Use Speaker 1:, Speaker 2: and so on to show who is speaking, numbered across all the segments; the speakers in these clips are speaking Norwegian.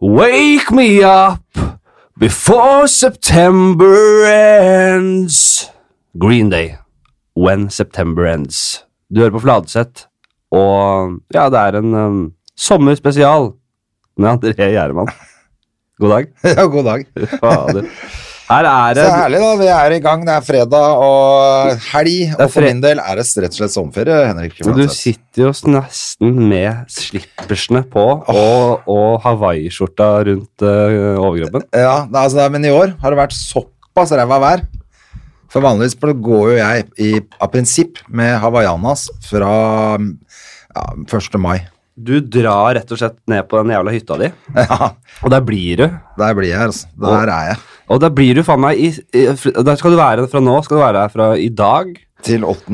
Speaker 1: Wake me up before September ends. Green Day. When September ends. Du hører på Fladseth, og ja, det er en um, sommerspesial med André Gjermann. God dag.
Speaker 2: Ja, god dag.
Speaker 1: Fader. Her er
Speaker 2: Så
Speaker 1: det
Speaker 2: herlig, da. Vi er i gang. Det er fredag og helg.
Speaker 1: er
Speaker 2: Og for
Speaker 1: fre-
Speaker 2: min del er det rett og slett sommerferie, Henrik.
Speaker 1: Du
Speaker 2: Fladseth.
Speaker 1: sitter jo nesten med slippersene på og, og hawaiiskjorta rundt eh, overkroppen.
Speaker 2: Ja, det er, altså, det er, men i år har det vært såpass ræva vær. For vanligvis for det går jo jeg i, av prinsipp med hawaiianas fra ja, 1. mai.
Speaker 1: Du drar rett og slett ned på den jævla hytta di,
Speaker 2: Ja,
Speaker 1: og der blir du.
Speaker 2: der blir jeg, altså. Der er jeg.
Speaker 1: Og da blir du faen meg i, i, Der skal du være fra nå, skal du være her fra i dag,
Speaker 2: Til 8.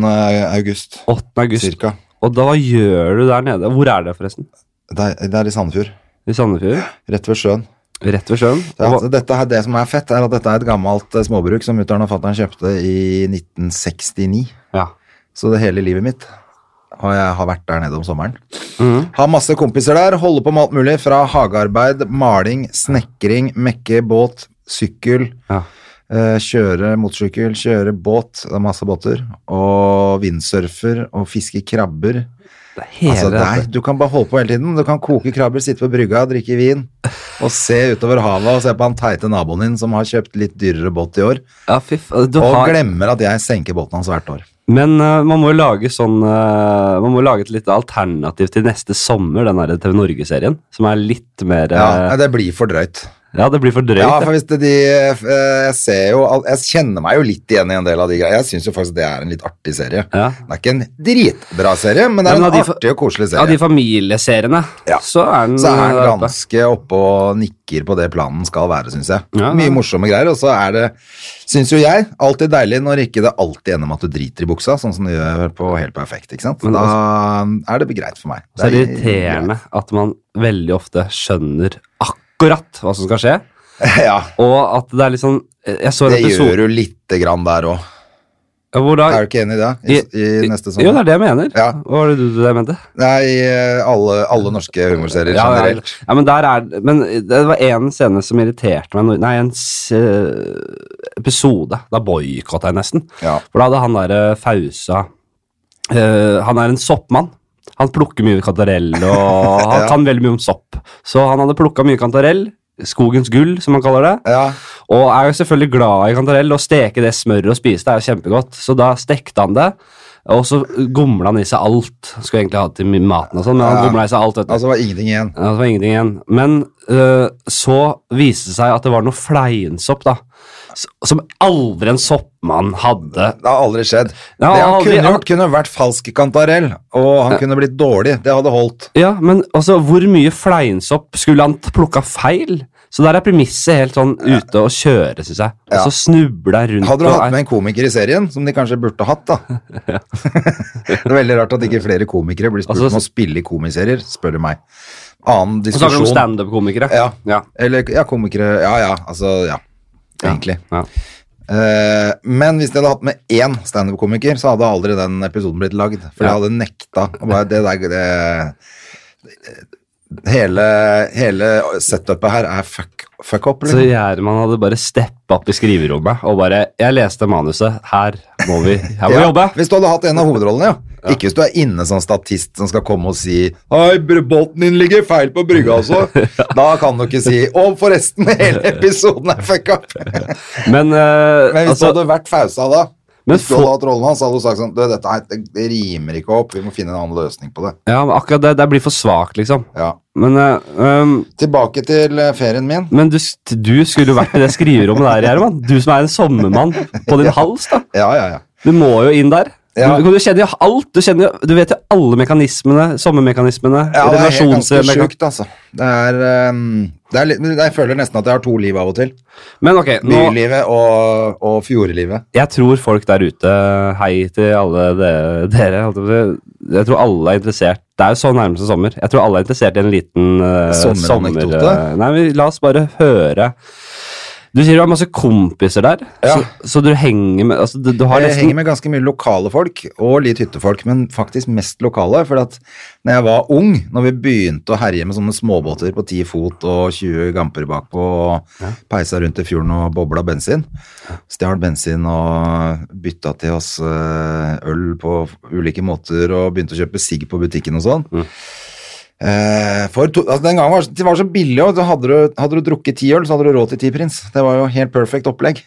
Speaker 2: august,
Speaker 1: 8. august.
Speaker 2: cirka.
Speaker 1: Og da hva gjør du der nede? Hvor er det forresten?
Speaker 2: Det er, det er i Sandefjord.
Speaker 1: I Sandefjord?
Speaker 2: Rett ved sjøen.
Speaker 1: Rett ved sjøen?
Speaker 2: Det,
Speaker 1: Og
Speaker 2: er,
Speaker 1: hva-
Speaker 2: dette er, det som er fett, er at dette er et gammelt eh, småbruk som mutter'n og fatter'n kjøpte i 1969.
Speaker 1: ja.
Speaker 2: Så det hele livet mitt har jeg har vært der nede om sommeren.
Speaker 1: Mhm.
Speaker 2: Har masse kompiser der, holder på med alt mulig fra hagearbeid, maling, snekring, mekke båt, sykkel,
Speaker 1: Ja.
Speaker 2: eh, kjøre motorsykkel, kjøre båt, det er masse båter, og vindsurfer og fiske krabber.
Speaker 1: Det er hele
Speaker 2: Altså, det er,
Speaker 1: dette.
Speaker 2: du kan bare holde på hele tiden. Du kan koke krabber, sitte på brygga, drikke vin og se utover havet og se på han teite naboen din som har kjøpt litt dyrere båt i år,
Speaker 1: Ja, fy faen. Du
Speaker 2: og
Speaker 1: har
Speaker 2: glemmer at jeg senker båten hans hvert år.
Speaker 1: Men eh, man må jo lage sånn eh, Man må jo lage et lite alternativ til neste sommer, den derre TV Norge-serien, som er litt mer eh,
Speaker 2: Ja, nei, det blir for drøyt.
Speaker 1: ja, det blir for drøyt.
Speaker 2: Ja,
Speaker 1: det.
Speaker 2: for hvis det, de, eh, jeg ser jo, al- jeg kjenner meg jo litt igjen i en del av de greiene. Jeg synes jo faktisk det er en litt artig serie.
Speaker 1: Ja.
Speaker 2: Det er ikke en dritbra serie, men det
Speaker 1: Ja,
Speaker 2: er
Speaker 1: men av
Speaker 2: en
Speaker 1: de fa-
Speaker 2: artig og koselig
Speaker 1: Av de
Speaker 2: serie.
Speaker 1: familieseriene,
Speaker 2: Ja.
Speaker 1: så er den
Speaker 2: Så er
Speaker 1: eh,
Speaker 2: den ganske oppe og nikker på det planen skal være, synes jeg.
Speaker 1: Ja, ja.
Speaker 2: Mye morsomme greier, og så er det, synes jo jeg, alltid deilig når ikke det alltid ender med at du driter i buksa, sånn som du gjør på Helt Perfekt, ikke sant?
Speaker 1: Men altså-
Speaker 2: Da er det greit for meg.
Speaker 1: Så er det
Speaker 2: er-
Speaker 1: irriterende at man veldig ofte skjønner akkurat hva som skal skje,
Speaker 2: Ja,
Speaker 1: og at det er litt sånn Jeg så en
Speaker 2: det
Speaker 1: episode
Speaker 2: gjør jo litt grann der også.
Speaker 1: hvor da
Speaker 2: Er du ikke enig i det? I, i neste sommer?
Speaker 1: Jo, det er det jeg mener.
Speaker 2: Ja.
Speaker 1: Hva var det du, du mente?
Speaker 2: Nei, eh, alle, alle norske humorserier
Speaker 1: Ja, ja,
Speaker 2: generelt.
Speaker 1: ja, men, der er, men det var en scene som irriterte meg. når- Nei, en s- eh, episode. Da boikotta jeg nesten.
Speaker 2: Ja.
Speaker 1: For da hadde han derre Fausa eh, Han er en soppmann. Han plukker mye kantarell, og han
Speaker 2: Ja.
Speaker 1: kan veldig mye om sopp. Så han hadde plukka mye kantarell. Skogens gull, som han kaller det.
Speaker 2: Ja,
Speaker 1: Og er jo selvfølgelig glad i kantarell, og steke det smøret og spise det er jo kjempegodt. Så da stekte han det, og så gomla han i seg alt. Han skulle egentlig ha det til maten og sånn, men han
Speaker 2: Ja.
Speaker 1: gomla i seg alt, vet du.
Speaker 2: altså det var ingenting igjen.
Speaker 1: Ja, det var ingenting igjen. Men øh, så viste det seg at det var noe fleinsopp, da. s- Som aldri en soppmann hadde.
Speaker 2: Det har aldri skjedd.
Speaker 1: Det har
Speaker 2: det han
Speaker 1: aldri-
Speaker 2: kunne gjort, kunne vært falsk kantarell, og han kunne blitt dårlig. Det hadde holdt.
Speaker 1: Ja, men altså, hvor mye fleinsopp skulle han t- plukka feil? Så der er premisset helt sånn ute å kjøre, syns jeg. Og
Speaker 2: Ja.
Speaker 1: så snubler jeg rundt
Speaker 2: Hadde du
Speaker 1: og
Speaker 2: hatt
Speaker 1: er-
Speaker 2: med en komiker i serien, som de kanskje burde hatt, da. det er veldig rart at ikke flere komikere blir spurt
Speaker 1: Altså,
Speaker 2: om å spille i komiserier, spør du meg. Annen
Speaker 1: Og snakker om
Speaker 2: diskusjon.
Speaker 1: standup-komikere.
Speaker 2: Ja.
Speaker 1: Ja.
Speaker 2: Eller ja, komikere Ja ja, altså ja. Egentlig.
Speaker 1: Ja.
Speaker 2: Eh, men hvis de hadde hatt med én standup-komiker, så hadde aldri den episoden blitt lagd. For de
Speaker 1: Ja.
Speaker 2: hadde nekta. Og bare, det der, det, hele, hele setupet her er fuck, fuck up.
Speaker 1: Så
Speaker 2: Liksom.
Speaker 1: Gjerman hadde bare steppa opp i skriverommet og bare 'Jeg leste manuset. Her må vi, her må vi
Speaker 2: Ja,
Speaker 1: jobbe'.
Speaker 2: hvis du hadde hatt en av hovedrollene, ja. Ikke hvis du er inne som statist som skal komme og si Hei, br- båten din ligger feil på brygga også. Da kan du ikke si Å, forresten, hele episoden er fuck up.
Speaker 1: Men, eh,
Speaker 2: Men hvis
Speaker 1: altså,
Speaker 2: du hadde vært Fausa da,
Speaker 1: Men
Speaker 2: hvis du
Speaker 1: få-
Speaker 2: hadde hatt rollen hans, så hadde du sagt sånn «Du, Dette her, det, det rimer ikke opp, vi må finne en annen løsning på det.
Speaker 1: ja, men akkurat det, det blir for svakt, liksom.
Speaker 2: Ja.
Speaker 1: Men, eh, um,
Speaker 2: Tilbake til eh, ferien min.
Speaker 1: men du, s- du skulle jo vært i det skriverommet der, Gjerman. Du som er en sommermann på din hals. da.
Speaker 2: Ja, ja, ja.
Speaker 1: Du må jo inn der.
Speaker 2: Ja.
Speaker 1: Du, du kjenner jo alt. Du, kjenner jo, du vet jo alle mekanismene. Sommermekanismene.
Speaker 2: ja det er helt ganske
Speaker 1: relasjonsmekanismene.
Speaker 2: sjukt, altså. Det er, eh, det er litt, men jeg føler nesten at jeg har to liv av og til.
Speaker 1: Men ok, nå,
Speaker 2: Bylivet og, og fjordlivet.
Speaker 1: jeg tror folk der ute Hei til alle dere, dere holdt jeg på å si. Jeg tror alle er interessert Det er jo så nærmeste sommer. Jeg tror alle er interessert i en liten eh, sommer...
Speaker 2: Sommeranekdote?
Speaker 1: eh, nei, men la oss bare høre Du sier du har masse kompiser der,
Speaker 2: Ja.
Speaker 1: så, så du henger med altså, du, du har
Speaker 2: Jeg
Speaker 1: nesten,
Speaker 2: henger med ganske mye lokale folk, og litt hyttefolk, men faktisk mest lokale. For at når jeg var ung, når vi begynte å herje med sånne småbåter på 10 fot og 20 gamper bakpå, og peisa rundt i fjorden og bobla bensin, stjal bensin og bytta til oss eh, øl på ulike måter og begynte å kjøpe sigg på butikken og sånn. Eh, for to, altså den gangen var det var så billig, og så hadde, du, hadde du drukket ti øl, så hadde du råd til ti prins. Det var jo helt perfect opplegg.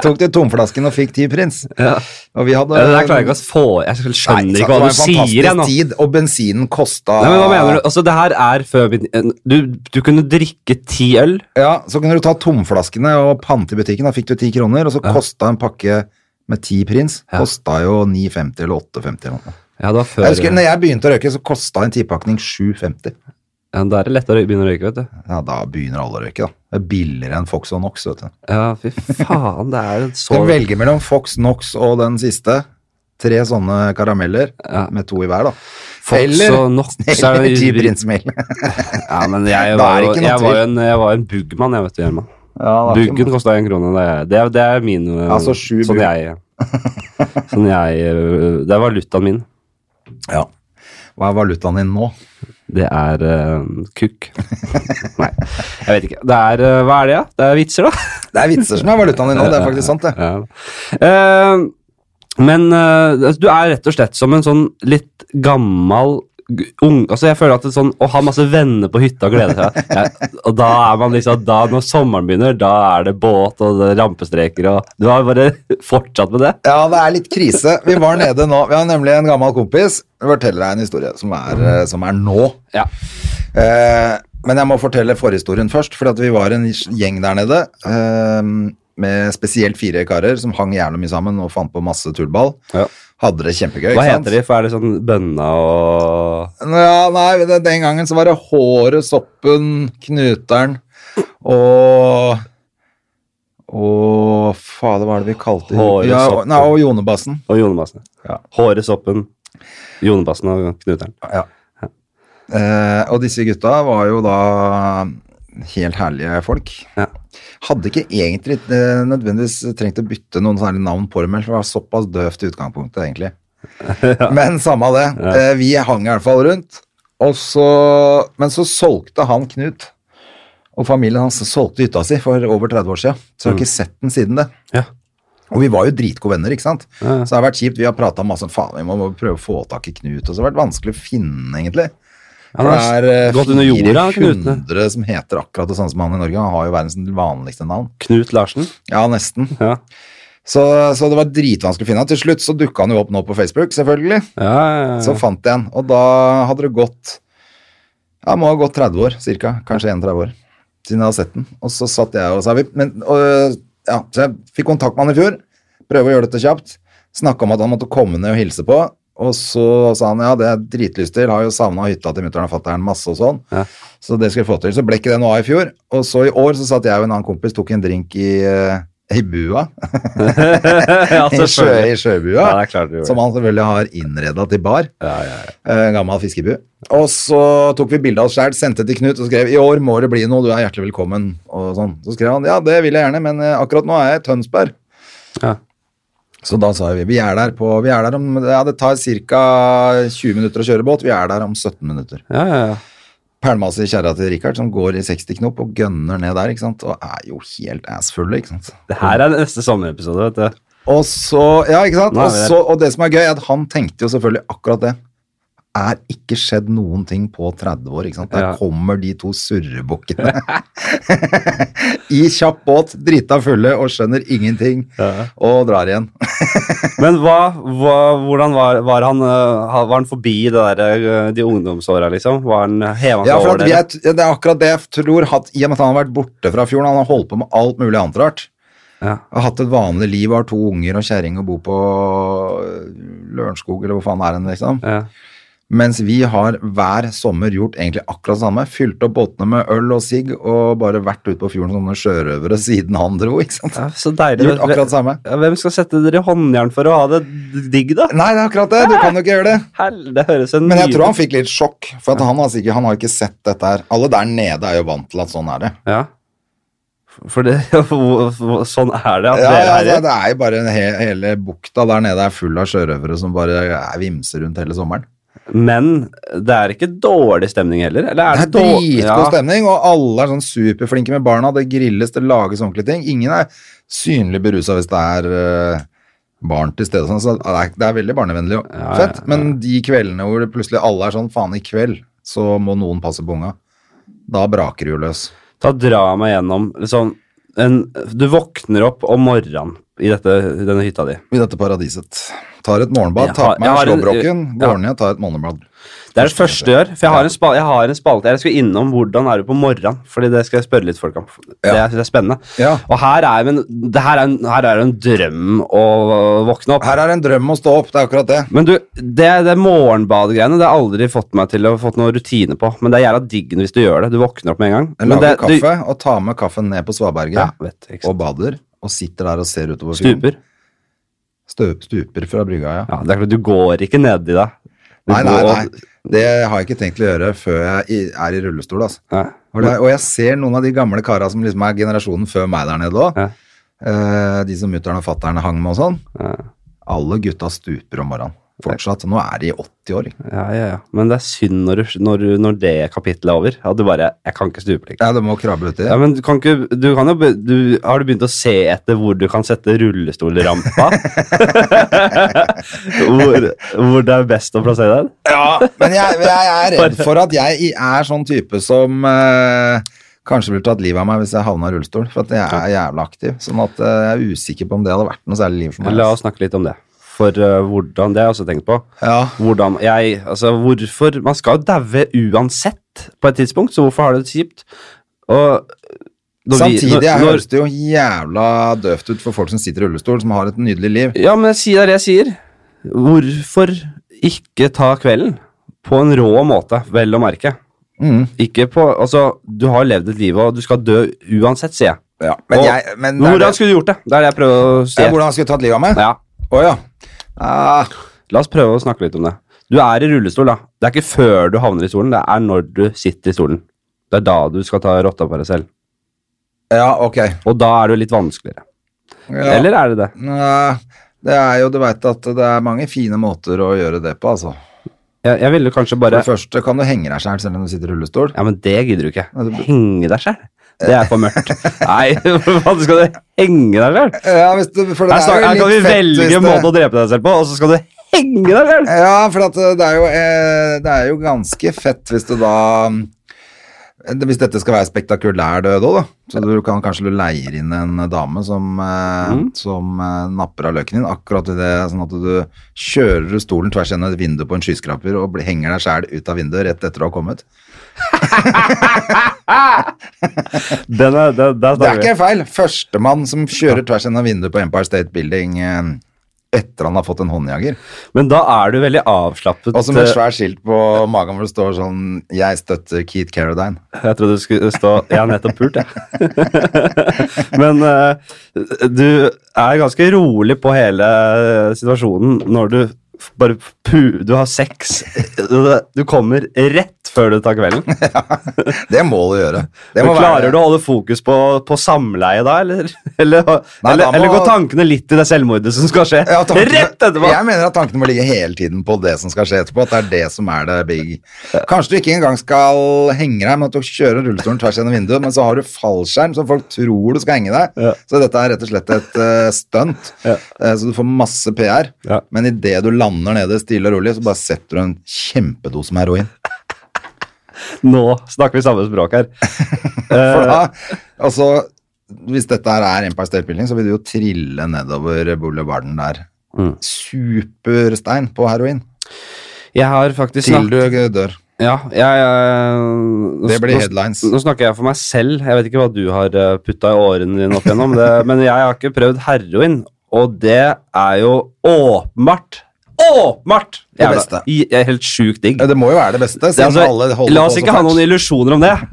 Speaker 2: Tok du tomflasken og fikk ti prins. Og vi hadde
Speaker 1: ja, Det der klarer jeg ikke å få Jeg
Speaker 2: Nei,
Speaker 1: skjønner
Speaker 2: sant,
Speaker 1: ikke hva du
Speaker 2: det var en
Speaker 1: sier, jeg nå.
Speaker 2: fantastisk tid, og bensinen kosta
Speaker 1: Nei, men hva mener du? Altså, det her er før min Du, du kunne drikke ti øl.
Speaker 2: Ja, så kunne du ta tomflaskene og pante i butikken, da fikk du ti kroner, og så kosta en pakke med ti prins,
Speaker 1: Ja.
Speaker 2: kosta jo 9,50 eller 8,50 eller noe.
Speaker 1: Ja, det var før
Speaker 2: Jeg husker, når jeg begynte å røyke, så kosta en tipakning 7,50.
Speaker 1: ja, Da er det lettere å begynne å røyke, vet du.
Speaker 2: Ja, da begynner alle å røyke, da. Det er billigere enn Fox og Nox, vet du.
Speaker 1: Ja, fy faen, det er en så
Speaker 2: Så velger mellom Fox, Nox og den siste. Tre sånne karameller
Speaker 1: Ja.
Speaker 2: med to i hver, da.
Speaker 1: Fox
Speaker 2: eller-
Speaker 1: og Nox er
Speaker 2: Eller ti prinsmel.
Speaker 1: Ja, men jeg
Speaker 2: Da er
Speaker 1: var,
Speaker 2: det
Speaker 1: jo-
Speaker 2: ikke noe
Speaker 1: jeg var
Speaker 2: tvil.
Speaker 1: jo en, jeg var en bugmann, jeg, vet du, Gjerman.
Speaker 2: Ja, det er ikke-
Speaker 1: Buggen kosta én krone. Det er, det er, det er min eh,
Speaker 2: Altså, sju
Speaker 1: Sånn
Speaker 2: bugg.
Speaker 1: jeg Sånn jeg eh, Det er valutaen min.
Speaker 2: Ja. Hva er valutaen din nå?
Speaker 1: Det er eh, kukk. Nei, jeg vet ikke. Det er eh, Hva er det, da? Det er vitser, da.
Speaker 2: Det er vitser som er valutaen din nå, det er faktisk sant, det.
Speaker 1: Ja. Eh, men eh, du er rett og slett som en sånn litt gammal g- ung, altså jeg føler at det er sånn, Å ha masse venner på hytta og glede seg ja, Og da er man liksom da Når sommeren begynner, da er det båt og det er rampestreker og Du har bare fortsatt med det.
Speaker 2: Ja, det er litt krise. Vi var nede nå. Vi har nemlig en gammel kompis. Jeg forteller deg en historie som er, eh, som er nå.
Speaker 1: Mm. Ja.
Speaker 2: Eh, men jeg må fortelle forhistorien først, for at vi var en gjeng der nede eh, med spesielt fire karer som hang jævlig mye sammen og fant på masse tullball.
Speaker 1: Ja.
Speaker 2: Hadde det kjempegøy.
Speaker 1: Hva
Speaker 2: ikke sant?
Speaker 1: heter de? For er det sånn bønna og
Speaker 2: Ja, nei, det- den gangen så var det håret, soppen, knuteren og Og faen, hva er det vi kalte det?
Speaker 1: Håret,
Speaker 2: ja, og-
Speaker 1: soppen.
Speaker 2: Nei, og Jonebassen.
Speaker 1: Og Jonebassen.
Speaker 2: Ja.
Speaker 1: Håret, soppen, Jonebassen og Knuteren.
Speaker 2: Ja. Eh, og disse gutta var jo da helt herlige folk.
Speaker 1: Ja.
Speaker 2: Hadde ikke egentlig eh, nødvendigvis trengt å bytte noen særlig navn på dem, for det var såpass døvt i utgangspunktet, egentlig. Men samme det. Eh, Vi hang i hvert fall rundt. Og så, men så solgte han Knut og familien hans solgte hytta si for over 30 år siden. Så jeg har ikke sett den siden det.
Speaker 1: Ja.
Speaker 2: Og vi var jo dritgode venner, ikke sant?
Speaker 1: Ja, ja.
Speaker 2: Så det har vært kjipt. Vi har prata masse om faen, vi må må prøve å få tak i Knut. Og så har det vært vanskelig å finne, egentlig. For det er eh,
Speaker 1: gått under jorda, Knutene.
Speaker 2: 400 som heter akkurat det samme som han i Norge. Han har jo verdens vanligste navn.
Speaker 1: Knut Larsen.
Speaker 2: Ja, nesten.
Speaker 1: Ja.
Speaker 2: Så, så det var dritvanskelig å finne han. Til slutt så dukka han jo opp nå på Facebook, selvfølgelig.
Speaker 1: Ja, ja, ja.
Speaker 2: Så fant jeg en, og da hadde det gått Ja, det må ha gått 30 år, cirka. Kanskje 31 år siden jeg hadde sett den. Og så satt jeg og sa vi, men, og, ja, Så jeg fikk kontakt med han i fjor. Prøve å gjøre dette kjapt. Snakka om at han måtte komme ned og hilse på. Og så sa han ja, det har jeg dritlyst til. Har jo savna hytta til mutter'n og fatter'n masse og sånn.
Speaker 1: Ja.
Speaker 2: Så det skal jeg få til. Så ble ikke det noe av i fjor. Og så i år så satt jeg og en annen kompis tok en drink i, eh, i bua.
Speaker 1: ja,
Speaker 2: I, sjø,
Speaker 1: selvfølgelig.
Speaker 2: I sjøbua.
Speaker 1: Ja, det er klart du gjorde.
Speaker 2: som han selvfølgelig har innreda til bar.
Speaker 1: Ja, ja, ja.
Speaker 2: Eh, gammel fiskebu. Og så tok vi bilde av oss sjæl, sendte til Knut og skrev 'I år må det bli noe, du er hjertelig velkommen'. Og sånn. Så skrev han 'Ja, det vil jeg gjerne, men eh, akkurat nå er jeg i Tønsberg'.
Speaker 1: Ja.
Speaker 2: Så da sa vi 'Vi er der på Vi er der om Ja, det tar ca. 20 minutter å kjøre båt. Vi er der om 17 minutter.
Speaker 1: Ja, ja, ja.
Speaker 2: Pælmas i kjerra til Richard, som går i 60 knop og gønner ned der, ikke sant. Og er jo helt assfulle, ikke sant.
Speaker 1: Det her er neste sommerepisode, vet du.
Speaker 2: Og så, ja, ikke sant?
Speaker 1: Nå er
Speaker 2: Og,
Speaker 1: vi der.
Speaker 2: så, og det som er gøy, er at han tenkte jo selvfølgelig akkurat det. Er ikke skjedd noen ting på 30 år, ikke sant? Der
Speaker 1: Ja.
Speaker 2: kommer de to surrebukkene i kjapp båt, drita fulle og skjønner ingenting,
Speaker 1: Ja.
Speaker 2: og drar igjen.
Speaker 1: Men hva, hva, hvordan var, var, han, øh, ha- var han forbi det der, øh, de ungdomsåra, liksom? Var han heva seg
Speaker 2: Ja, for
Speaker 1: over
Speaker 2: at
Speaker 1: det?
Speaker 2: vi er, det er akkurat det jeg tror, at, i og med at han har vært borte fra fjorden, han har holdt på med alt mulig annet rart.
Speaker 1: Ja.
Speaker 2: Har hatt et vanlig liv, har to unger og kjerring og bor på øh, Lørenskog, eller hvor faen er han, liksom.
Speaker 1: Ja.
Speaker 2: Mens vi har hver sommer gjort egentlig akkurat det samme. Fylt opp båtene med øl og sigg og bare vært ute på fjorden som noen sjørøvere siden han dro. ikke sant?
Speaker 1: Ja, så deilig.
Speaker 2: Gjort akkurat det samme.
Speaker 1: Ja, Hvem skal sette dere i håndjern for å ha det digg, da?
Speaker 2: Nei, det er akkurat det. Du kan jo ikke gjøre det.
Speaker 1: Hell, det høres en
Speaker 2: Men jeg tror
Speaker 1: nydelig-
Speaker 2: han fikk litt sjokk, altså for at han, har sikkert, han har ikke sett dette her. Alle der nede er jo vant til at sånn er det.
Speaker 1: ja. For det, sånn er det at
Speaker 2: Ja, altså.
Speaker 1: dere
Speaker 2: ja,
Speaker 1: er
Speaker 2: det,
Speaker 1: her.
Speaker 2: det er jo bare en he hele bukta der nede er full av sjørøvere som bare er vimser rundt hele sommeren.
Speaker 1: Men det er ikke dårlig stemning heller? Eller
Speaker 2: Det
Speaker 1: er
Speaker 2: er dritgod
Speaker 1: ja.
Speaker 2: stemning, og alle er sånn superflinke med barna. Det grilles, det lages ordentlige ting. Ingen er synlig berusa hvis det er eh, barn til stede, og sånn, så det er, det er veldig barnevennlig og
Speaker 1: Ja, ja,
Speaker 2: fett. Men de kveldene hvor det plutselig alle er sånn faen, i kveld så må noen passe på unga. Da braker det jo løs.
Speaker 1: Da drar jeg meg gjennom liksom, en, Du våkner opp om morgenen i dette, denne hytta di.
Speaker 2: I dette paradiset. Tar et morgenbad,
Speaker 1: Jeg
Speaker 2: tar
Speaker 1: har-
Speaker 2: på meg
Speaker 1: jeg har en-
Speaker 2: slåbroken,
Speaker 1: ja.
Speaker 2: går ned, tar et morgenbad.
Speaker 1: Det er det første jeg gjør. For jeg har en, spa, jeg har en spalte Jeg skal innom hvordan er du på morgenen. Fordi det skal jeg spørre litt folk om. Det jeg synes er spennende.
Speaker 2: Ja.
Speaker 1: Og her er, men, det her, er en, her er det en drøm å våkne opp.
Speaker 2: Her er en drøm å stå opp, det er akkurat det.
Speaker 1: Men du, det, det morgenbadgreiene Det har jeg aldri fått meg til å fått noen rutine på. Men det er jævla digg hvis du gjør det. Du våkner opp med en gang.
Speaker 2: Jeg
Speaker 1: Men
Speaker 2: lager
Speaker 1: det,
Speaker 2: kaffe og tar med kaffen ned på
Speaker 1: Du, ja,
Speaker 2: svaberget
Speaker 1: vet, du, ikke sant.
Speaker 2: og bader. Og sitter der og ser utover fjorden.
Speaker 1: Stuper.
Speaker 2: Støp, stuper fra brygga, ja.
Speaker 1: Ja, det er klart, du går ikke nedi deg. Du
Speaker 2: Nei, nei,
Speaker 1: går-
Speaker 2: nei. Det har jeg ikke tenkt å gjøre før jeg i- er i rullestol, altså.
Speaker 1: Nei.
Speaker 2: Og, det, og jeg ser noen av de gamle kara som liksom er generasjonen før meg der nede òg.
Speaker 1: Ja.
Speaker 2: Eh, de som mutter'n og fatter'n hang med og sånn.
Speaker 1: Ja.
Speaker 2: Alle gutta stuper om morgenen. Fortsatt. Nå er de 80 år. ikke?
Speaker 1: Ja, ja, ja. Men det er synd når, du, når, du- når det kapittelet er over. At du bare Jeg kan ikke stupe lenger.
Speaker 2: Ja, de må krabbe uti.
Speaker 1: Ja, men du kan ikke du kan jo, be- du, Har du begynt å se etter hvor du kan sette rullestolrampa? hvor, hvor det er best å plassere den?
Speaker 2: Ja, men jeg, jeg er redd for at jeg er sånn type som eh, kanskje ville tatt livet av meg hvis jeg havna i rullestol, for at jeg er jævla aktiv. Sånn at eh, jeg er usikker på om det hadde vært noe særlig liv for meg. altså.
Speaker 1: La oss snakke litt om det. For eh, hvordan Det har jeg også tenkt på.
Speaker 2: Ja,
Speaker 1: Hvordan jeg Altså, hvorfor Man skal jo daue uansett på et tidspunkt, så hvorfor har du det kjipt? Og når vi-
Speaker 2: Samtidig
Speaker 1: når-
Speaker 2: jeg
Speaker 1: når-
Speaker 2: høres det jo jævla døvt ut for folk som sitter i rullestol, som har et nydelig liv.
Speaker 1: Ja, men si det er det jeg sier. Hvorfor ikke ta kvelden? På en rå måte, vel å merke.
Speaker 2: Mm.
Speaker 1: Ikke på Altså, du har levd et liv, og du skal dø uansett, sier jeg.
Speaker 2: Ja, men
Speaker 1: Og-
Speaker 2: jeg, men det er
Speaker 1: Hvordan
Speaker 2: det-
Speaker 1: skulle du gjort det? Det er det jeg prøver å si.
Speaker 2: ja, hvordan skulle jeg tatt livet av meg?
Speaker 1: Ja,
Speaker 2: Å ja. Ah,
Speaker 1: la oss prøve å snakke litt om det. Du er i rullestol, da. Det er ikke før du havner i stolen, det er når du sitter i stolen. Det er da du skal ta rotta på deg selv.
Speaker 2: ja, ok.
Speaker 1: Og da er det jo litt vanskeligere.
Speaker 2: Ja.
Speaker 1: Eller er det det?
Speaker 2: Nei, Det er jo, du veit at det er mange fine måter å gjøre det på, altså.
Speaker 1: Jeg, jeg ville kanskje
Speaker 2: For
Speaker 1: bare
Speaker 2: det første kan du henge deg sjæl selv om du sitter i rullestol.
Speaker 1: Ja, men det gidder du ikke.
Speaker 2: Nei, det-
Speaker 1: Henge deg sjæl? Det er for mørkt. Nei, hva skal du henge deg sjæl?
Speaker 2: Ja, hvis du, for det
Speaker 1: Her,
Speaker 2: er
Speaker 1: snak-
Speaker 2: jo
Speaker 1: her kan vi
Speaker 2: litt fett hvis
Speaker 1: velge
Speaker 2: det-
Speaker 1: en måte å drepe deg selv på, og så skal du henge deg sjæl!
Speaker 2: Ja, for at eh, det, er jo, eh, det er jo ganske fett hvis du da mm, Hvis dette skal være spektakulær død òg, da. Så du kan kanskje du leier inn en dame som, eh, som eh, napper av løken din. Akkurat i det, sånn at du kjører stolen tvers gjennom et vindu på en skyskraper og blir- henger deg sjæl ut av vinduet rett etter å ha kommet.
Speaker 1: Den er, den, der
Speaker 2: Det er
Speaker 1: snakker vi.
Speaker 2: ikke feil. Førstemann som kjører tvers gjennom vinduet på Empire State Building eh, etter han har fått en håndjager.
Speaker 1: Men da er du veldig avslappet. eh,
Speaker 2: Og så med et svært skilt på magen hvor det står sånn 'Jeg støtter Keith Caradine'.
Speaker 1: Jeg trodde du skulle stå Jeg har nettopp pult, jeg. Men eh, du er ganske rolig på hele situasjonen når du f- bare pu... Du har sex. Du kommer rett før du tar kvelden.
Speaker 2: Det må du gjøre. Det
Speaker 1: Men
Speaker 2: må
Speaker 1: klarer
Speaker 2: være-
Speaker 1: du å holde fokus på, på samleie da, eller? Eller,
Speaker 2: Nei,
Speaker 1: eller,
Speaker 2: da må-
Speaker 1: eller går tankene litt i det selvmordet som skal skje?
Speaker 2: Ja, tankene-
Speaker 1: Rett etterpå!
Speaker 2: Jeg mener at tankene må ligge hele tiden på det som skal skje etterpå. At det er det som er det big. Kanskje du ikke engang skal henge deg, men at du kjører rullestolen tvers gjennom vinduet, men så har du fallskjerm, så folk tror du skal henge deg.
Speaker 1: Ja.
Speaker 2: Så dette er rett og slett et eh, stunt.
Speaker 1: Ja.
Speaker 2: Eh, så du får masse PR.
Speaker 1: Ja.
Speaker 2: Men idet du lander nede stille og rolig, så bare setter du en kjempedose med heroin.
Speaker 1: Nå snakker vi samme språk her.
Speaker 2: For
Speaker 1: Eh,
Speaker 2: da, altså, hvis dette her er Empire State Building, så vil du jo trille nedover boulevarden der.
Speaker 1: Mm.
Speaker 2: Superstein på heroin.
Speaker 1: Jeg har faktisk
Speaker 2: Til
Speaker 1: snak-
Speaker 2: du dør.
Speaker 1: Ja, jeg, jeg- nå-
Speaker 2: Det blir
Speaker 1: nå-
Speaker 2: headlines.
Speaker 1: Nå snakker jeg for meg selv. Jeg vet ikke hva du har putta i årene dine opp igjennom, det, men jeg har ikke prøvd heroin, og det er jo åpenbart Åpenbart
Speaker 2: Det
Speaker 1: Jævla-
Speaker 2: beste.
Speaker 1: i- er helt sjukt digg.
Speaker 2: Ja, Det må jo være det beste,
Speaker 1: Det er
Speaker 2: siden alle
Speaker 1: altså,
Speaker 2: holder
Speaker 1: la
Speaker 2: på
Speaker 1: oss
Speaker 2: så
Speaker 1: ikke ha
Speaker 2: fælt.
Speaker 1: noen illusjoner om det.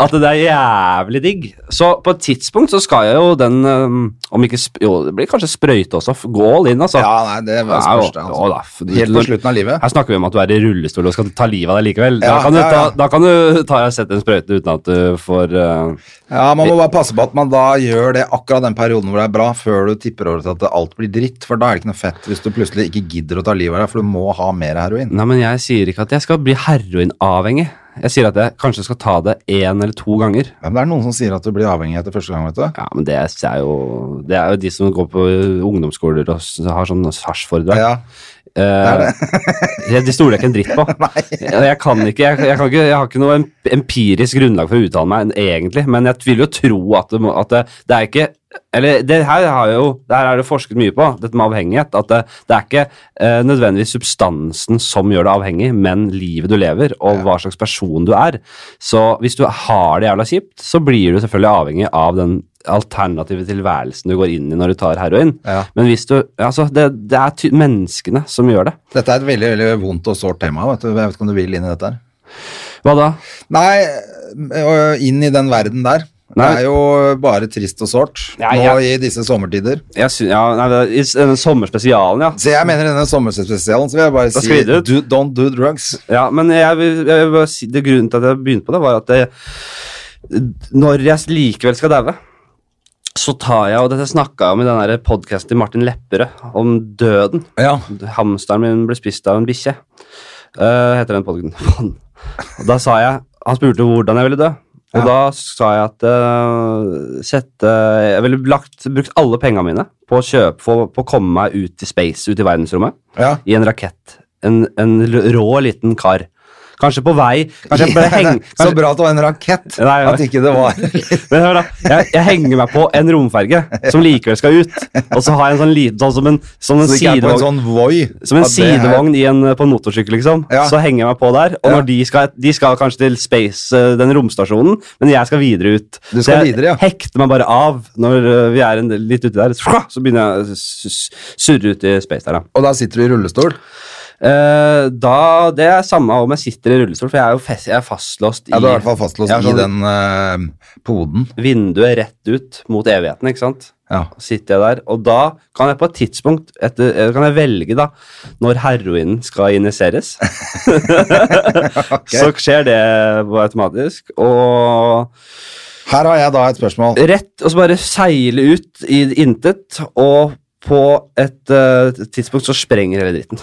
Speaker 1: At det er jævlig digg. Så på et tidspunkt så skal jeg jo den øhm, Om ikke sp Jo, det blir kanskje sprøyte også. f- Gå all in, altså.
Speaker 2: Ja, nei, det
Speaker 1: Det
Speaker 2: var
Speaker 1: er jo-
Speaker 2: spørs det, altså.
Speaker 1: å da, f-
Speaker 2: Helt på slutten av livet.
Speaker 1: Her snakker vi om at du er i rullestol og skal ta livet av deg likevel. da,
Speaker 2: Ja,
Speaker 1: kan du
Speaker 2: ja, ja.
Speaker 1: Ta, da kan du ta og sette en sprøyte uten at du får øh,
Speaker 2: Ja, Man må bare passe på at man da gjør det akkurat den perioden hvor det er bra, før du tipper over til at alt blir dritt. For da er det ikke noe fett hvis du plutselig ikke gidder å ta livet av deg, for du må ha mer heroin.
Speaker 1: Nei, men jeg sier ikke at jeg skal bli heroinavhengig. Jeg sier at jeg kanskje skal ta det én eller to ganger.
Speaker 2: Ja, men det er noen som sier at du blir avhengig etter første gang, vet du.
Speaker 1: Ja, men det er jo, det er jo de som går på ungdomsskoler og s- har sånn hasjforedrag.
Speaker 2: Ja,
Speaker 1: Eh, det stoler jeg ikke en dritt på. Jeg, jeg kan ikke, jeg, jeg, kan ikke, jeg har ikke noe em- empirisk grunnlag for å uttale meg, egentlig, men jeg vil jo tro at det, må, at det, det er ikke eller det her, har jo, det her er det forsket mye på, dette med avhengighet. At det, det er ikke eh, nødvendigvis substansen som gjør deg avhengig, men livet du lever, og hva slags person du er. Så hvis du har det jævla kjipt, så blir du selvfølgelig avhengig av den alternative tilværelsen du går inn i når du tar heroin.
Speaker 2: Ja.
Speaker 1: Men hvis du Altså, det, det er ty menneskene som gjør det.
Speaker 2: Dette er et veldig veldig vondt og sårt tema. vet du. Jeg vet ikke om du vil inn i dette her.
Speaker 1: Hva da?
Speaker 2: Nei, øh, inn i den verden der.
Speaker 1: Nei.
Speaker 2: Det er jo bare trist og sårt
Speaker 1: Nei,
Speaker 2: nå i disse sommertider.
Speaker 1: Jeg sy ja, nei, det er- I s- denne sommerspesialen, ja.
Speaker 2: Så jeg mener i denne sommerspesialen så vil jeg bare
Speaker 1: Da
Speaker 2: si
Speaker 1: sklir det ut.
Speaker 2: do, don't do drugs.
Speaker 1: ja men jeg, vil- jeg, vil bare si, det grunnen til at jeg begynte på det, var at det, når jeg likevel skal daue, så tar jeg og Dette snakka jeg om i den podkasten til Martin Lepperød om døden.
Speaker 2: Ja.
Speaker 1: Hamsteren min ble spist av en bikkje, eh, heter den podkasten. Og da sa jeg Han spurte hvordan jeg ville dø. Og
Speaker 2: Ja.
Speaker 1: da sa jeg at eh, sette, jeg ville lagt, brukt alle pengene mine på å kjøpe, få- på å komme meg ut i space, ut i verdensrommet.
Speaker 2: ja.
Speaker 1: i en rakett. En, en l- rå liten kar. Kanskje på vei Kanskje jeg bare heng...
Speaker 2: Så
Speaker 1: Kanskje,
Speaker 2: bra at det var en rakett,
Speaker 1: Nei, ja.
Speaker 2: at ikke det var litt
Speaker 1: men hør da, jeg, jeg henger meg på en romferge som likevel skal ut. Og så har jeg en sånn liten sånn som en, som en
Speaker 2: Så det ikke er på en
Speaker 1: sidevogn.
Speaker 2: sånn Voi.
Speaker 1: Som en
Speaker 2: at det er-
Speaker 1: sidevogn i en, på en motorsykkel, liksom.
Speaker 2: Ja.
Speaker 1: Så henger jeg meg på der. Og
Speaker 2: Ja.
Speaker 1: når de skal, de skal kanskje til space, eh, den romstasjonen, men jeg skal videre ut.
Speaker 2: Du skal
Speaker 1: så jeg
Speaker 2: videre, ja.
Speaker 1: hekter meg bare av når eh, vi er en, del- litt uti der. Så, så begynner jeg å s- s- surre ut i space der, da.
Speaker 2: Og da sitter du i rullestol.
Speaker 1: Eh, da, Det er samme om jeg sitter i rullestol, for jeg er jo fest, jeg er fastlåst i
Speaker 2: Ja, du er i hvert fall fastlåst
Speaker 1: Ja,
Speaker 2: i
Speaker 1: sånn-
Speaker 2: den eh, poden.
Speaker 1: vinduet rett ut mot evigheten. ikke sant?
Speaker 2: Ja.
Speaker 1: Sitter jeg der, og da kan jeg på et tidspunkt etter, eh, kan jeg velge da, når heroinen skal injiseres. Så skjer det automatisk. Og
Speaker 2: Her har jeg da et spørsmål.
Speaker 1: rett, og så bare seile ut i intet. og på et eh, tidspunkt så sprenger hele dritten.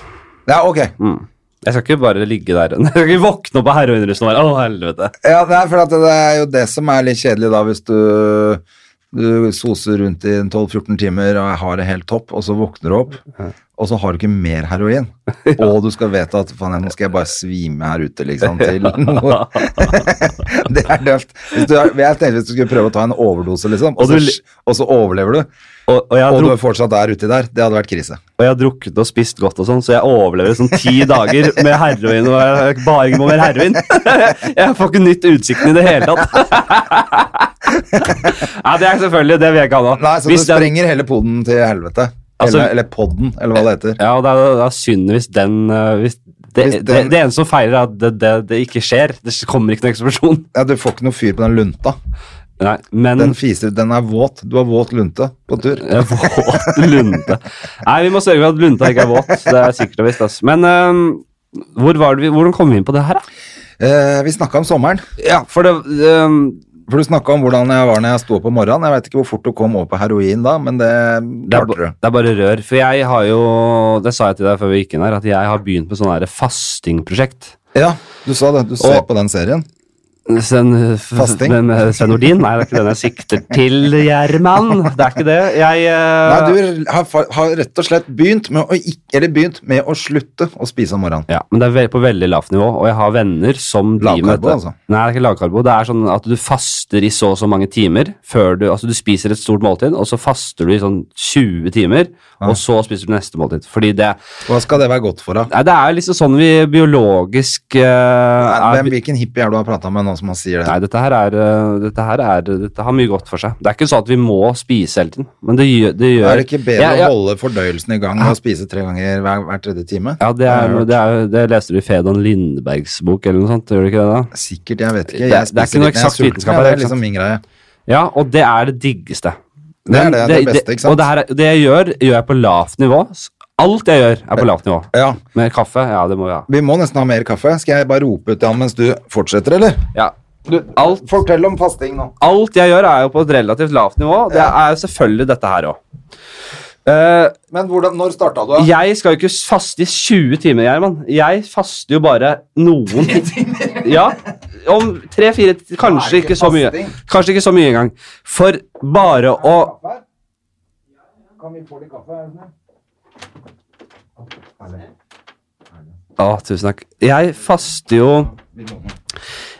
Speaker 2: Ja, ok.
Speaker 1: Mm. Jeg skal ikke bare ligge der. Jeg skal ikke våkne opp av heroinrusen og være Å, helvete.
Speaker 2: Ja, det er, for at det er jo det som er litt kjedelig da, hvis du, du soser rundt i 12-14 timer og har det helt topp, og så våkner du opp, og så har du ikke mer heroin. Og du skal vite at faen, nå skal jeg bare svime her ute, liksom, til noe. det er døvt. Hvis du, er- jeg tenkte hvis du skulle prøve å ta en overdose, liksom,
Speaker 1: Og
Speaker 2: og,
Speaker 1: du li-
Speaker 2: så, og så overlever du,
Speaker 1: Og, og jeg har
Speaker 2: og du
Speaker 1: drukket-
Speaker 2: er fortsatt der uti der, det hadde vært krise.
Speaker 1: Og jeg har drukket og spist godt, og sånn, så jeg overlever sånn ti dager med heroin. og jeg bare ikke må mer heroin. Jeg får ikke nytt utsikten i det hele tatt. Nei, det er selvfølgelig det vil jeg ikke ha nå.
Speaker 2: Nei, så du
Speaker 1: Hvis den-
Speaker 2: sprenger hele poden til helvete.
Speaker 1: Altså-
Speaker 2: eller, eller podden, eller hva det heter.
Speaker 1: Ja, og det er, det er synd hvis den øh, hvis det,
Speaker 2: Hvis
Speaker 1: det,
Speaker 2: den-
Speaker 1: det eneste som feiler, er at det, det, det ikke skjer. Det kommer ikke noen eksplosjon.
Speaker 2: Ja, du får ikke noe fyr på den lunta.
Speaker 1: Nei, men
Speaker 2: Den fiser, den er våt. Du har våt lunte på tur.
Speaker 1: Eh, Våt lunte. Nei, vi må sørge for at lunta ikke er våt. Det er sikkert og visst. ass. Men øhm, hvor var det vi, hvordan kom vi inn på det her, da?
Speaker 2: Eh, vi snakka om sommeren.
Speaker 1: Ja, for det
Speaker 2: ehm,
Speaker 1: øhm,
Speaker 2: For du snakka om hvordan jeg var når jeg sto opp om morgenen. Jeg veit ikke hvor fort du kom over på heroin da, men det
Speaker 1: Det er,
Speaker 2: klarte du.
Speaker 1: ba- det er bare rør. For jeg har jo Det sa jeg til deg før vi gikk inn her, at jeg har begynt med sånn her fastingprosjekt.
Speaker 2: Ja, du sa det. Du ser
Speaker 1: Og-
Speaker 2: på den serien.
Speaker 1: Sen,
Speaker 2: Fasting?
Speaker 1: Men, eh, Senordin? Nei, det er ikke den jeg sikter til, Gjerman. Det er ikke det. Jeg eh,
Speaker 2: Nei, du har, fa- har rett og slett begynt med å, ikk- eller begynt med å slutte å spise om morgenen.
Speaker 1: ja, Men det er ve- på veldig lavt nivå, og jeg har venner som driver med
Speaker 2: Lavkarbo,
Speaker 1: dette.
Speaker 2: altså.
Speaker 1: Nei, det er ikke lavkarbo. Det er sånn at du faster i så og så mange timer før du Altså, du spiser et stort måltid, og så faster du i sånn 20 timer, og så spiser du neste måltid. Fordi det
Speaker 2: Hva skal det være godt for, da?
Speaker 1: Nei, det er liksom sånn vi biologisk eh,
Speaker 2: Nei,
Speaker 1: er
Speaker 2: Hvem, hvilken hippie er det du har prata med nå sånn som man sier det.
Speaker 1: Nei, dette her, er, eh, dette her er Dette har mye godt for seg. Det er ikke sånn at vi må spise hele tiden, men det gjør, det gjør
Speaker 2: Er det ikke bedre
Speaker 1: Ja, ja.
Speaker 2: å holde fordøyelsen i gang og spise tre ganger hver, hver tredje time?
Speaker 1: Ja, det,
Speaker 2: har jeg
Speaker 1: er,
Speaker 2: hørt.
Speaker 1: det, er, det leste du i Fedon Lindbergs bok eller noe sånt, gjør du ikke det? da?
Speaker 2: Sikkert, jeg vet ikke.
Speaker 1: Det- det er
Speaker 2: Jeg
Speaker 1: ikke
Speaker 2: spiser
Speaker 1: noe
Speaker 2: litt når jeg er
Speaker 1: eksakt
Speaker 2: sulten,
Speaker 1: vitenskap
Speaker 2: ja,
Speaker 1: her,
Speaker 2: det er
Speaker 1: ikke sant?
Speaker 2: liksom min greie.
Speaker 1: Ja, og det er det diggeste.
Speaker 2: Det er det,
Speaker 1: Men
Speaker 2: det er det beste, ikke sant?
Speaker 1: Og det, her, er- det jeg gjør, gjør jeg på lavt nivå. Alt jeg gjør, er på lavt nivå.
Speaker 2: Ja,
Speaker 1: Med kaffe, ja, det må vi ha.
Speaker 2: vi må nesten ha mer kaffe. Skal jeg bare rope ut til han mens du fortsetter, eller?
Speaker 1: Ja. Alt,
Speaker 2: Fortell om fasting nå.
Speaker 1: alt jeg gjør, er jo på et relativt lavt nivå. Det er jo selvfølgelig dette her Eh, òg.
Speaker 2: Men hvordan, når starta du? da?
Speaker 1: jeg skal jo ikke faste i 20 timer, Gjerman. Jeg faster jo bare noen Ja, Om tre-fire Kanskje
Speaker 2: ikke
Speaker 1: ikke så mye.
Speaker 2: fasting.
Speaker 1: Kanskje ikke så mye engang. For bare å
Speaker 2: Kan vi få litt kaffe?
Speaker 1: Å, tusen takk. Jeg faster jo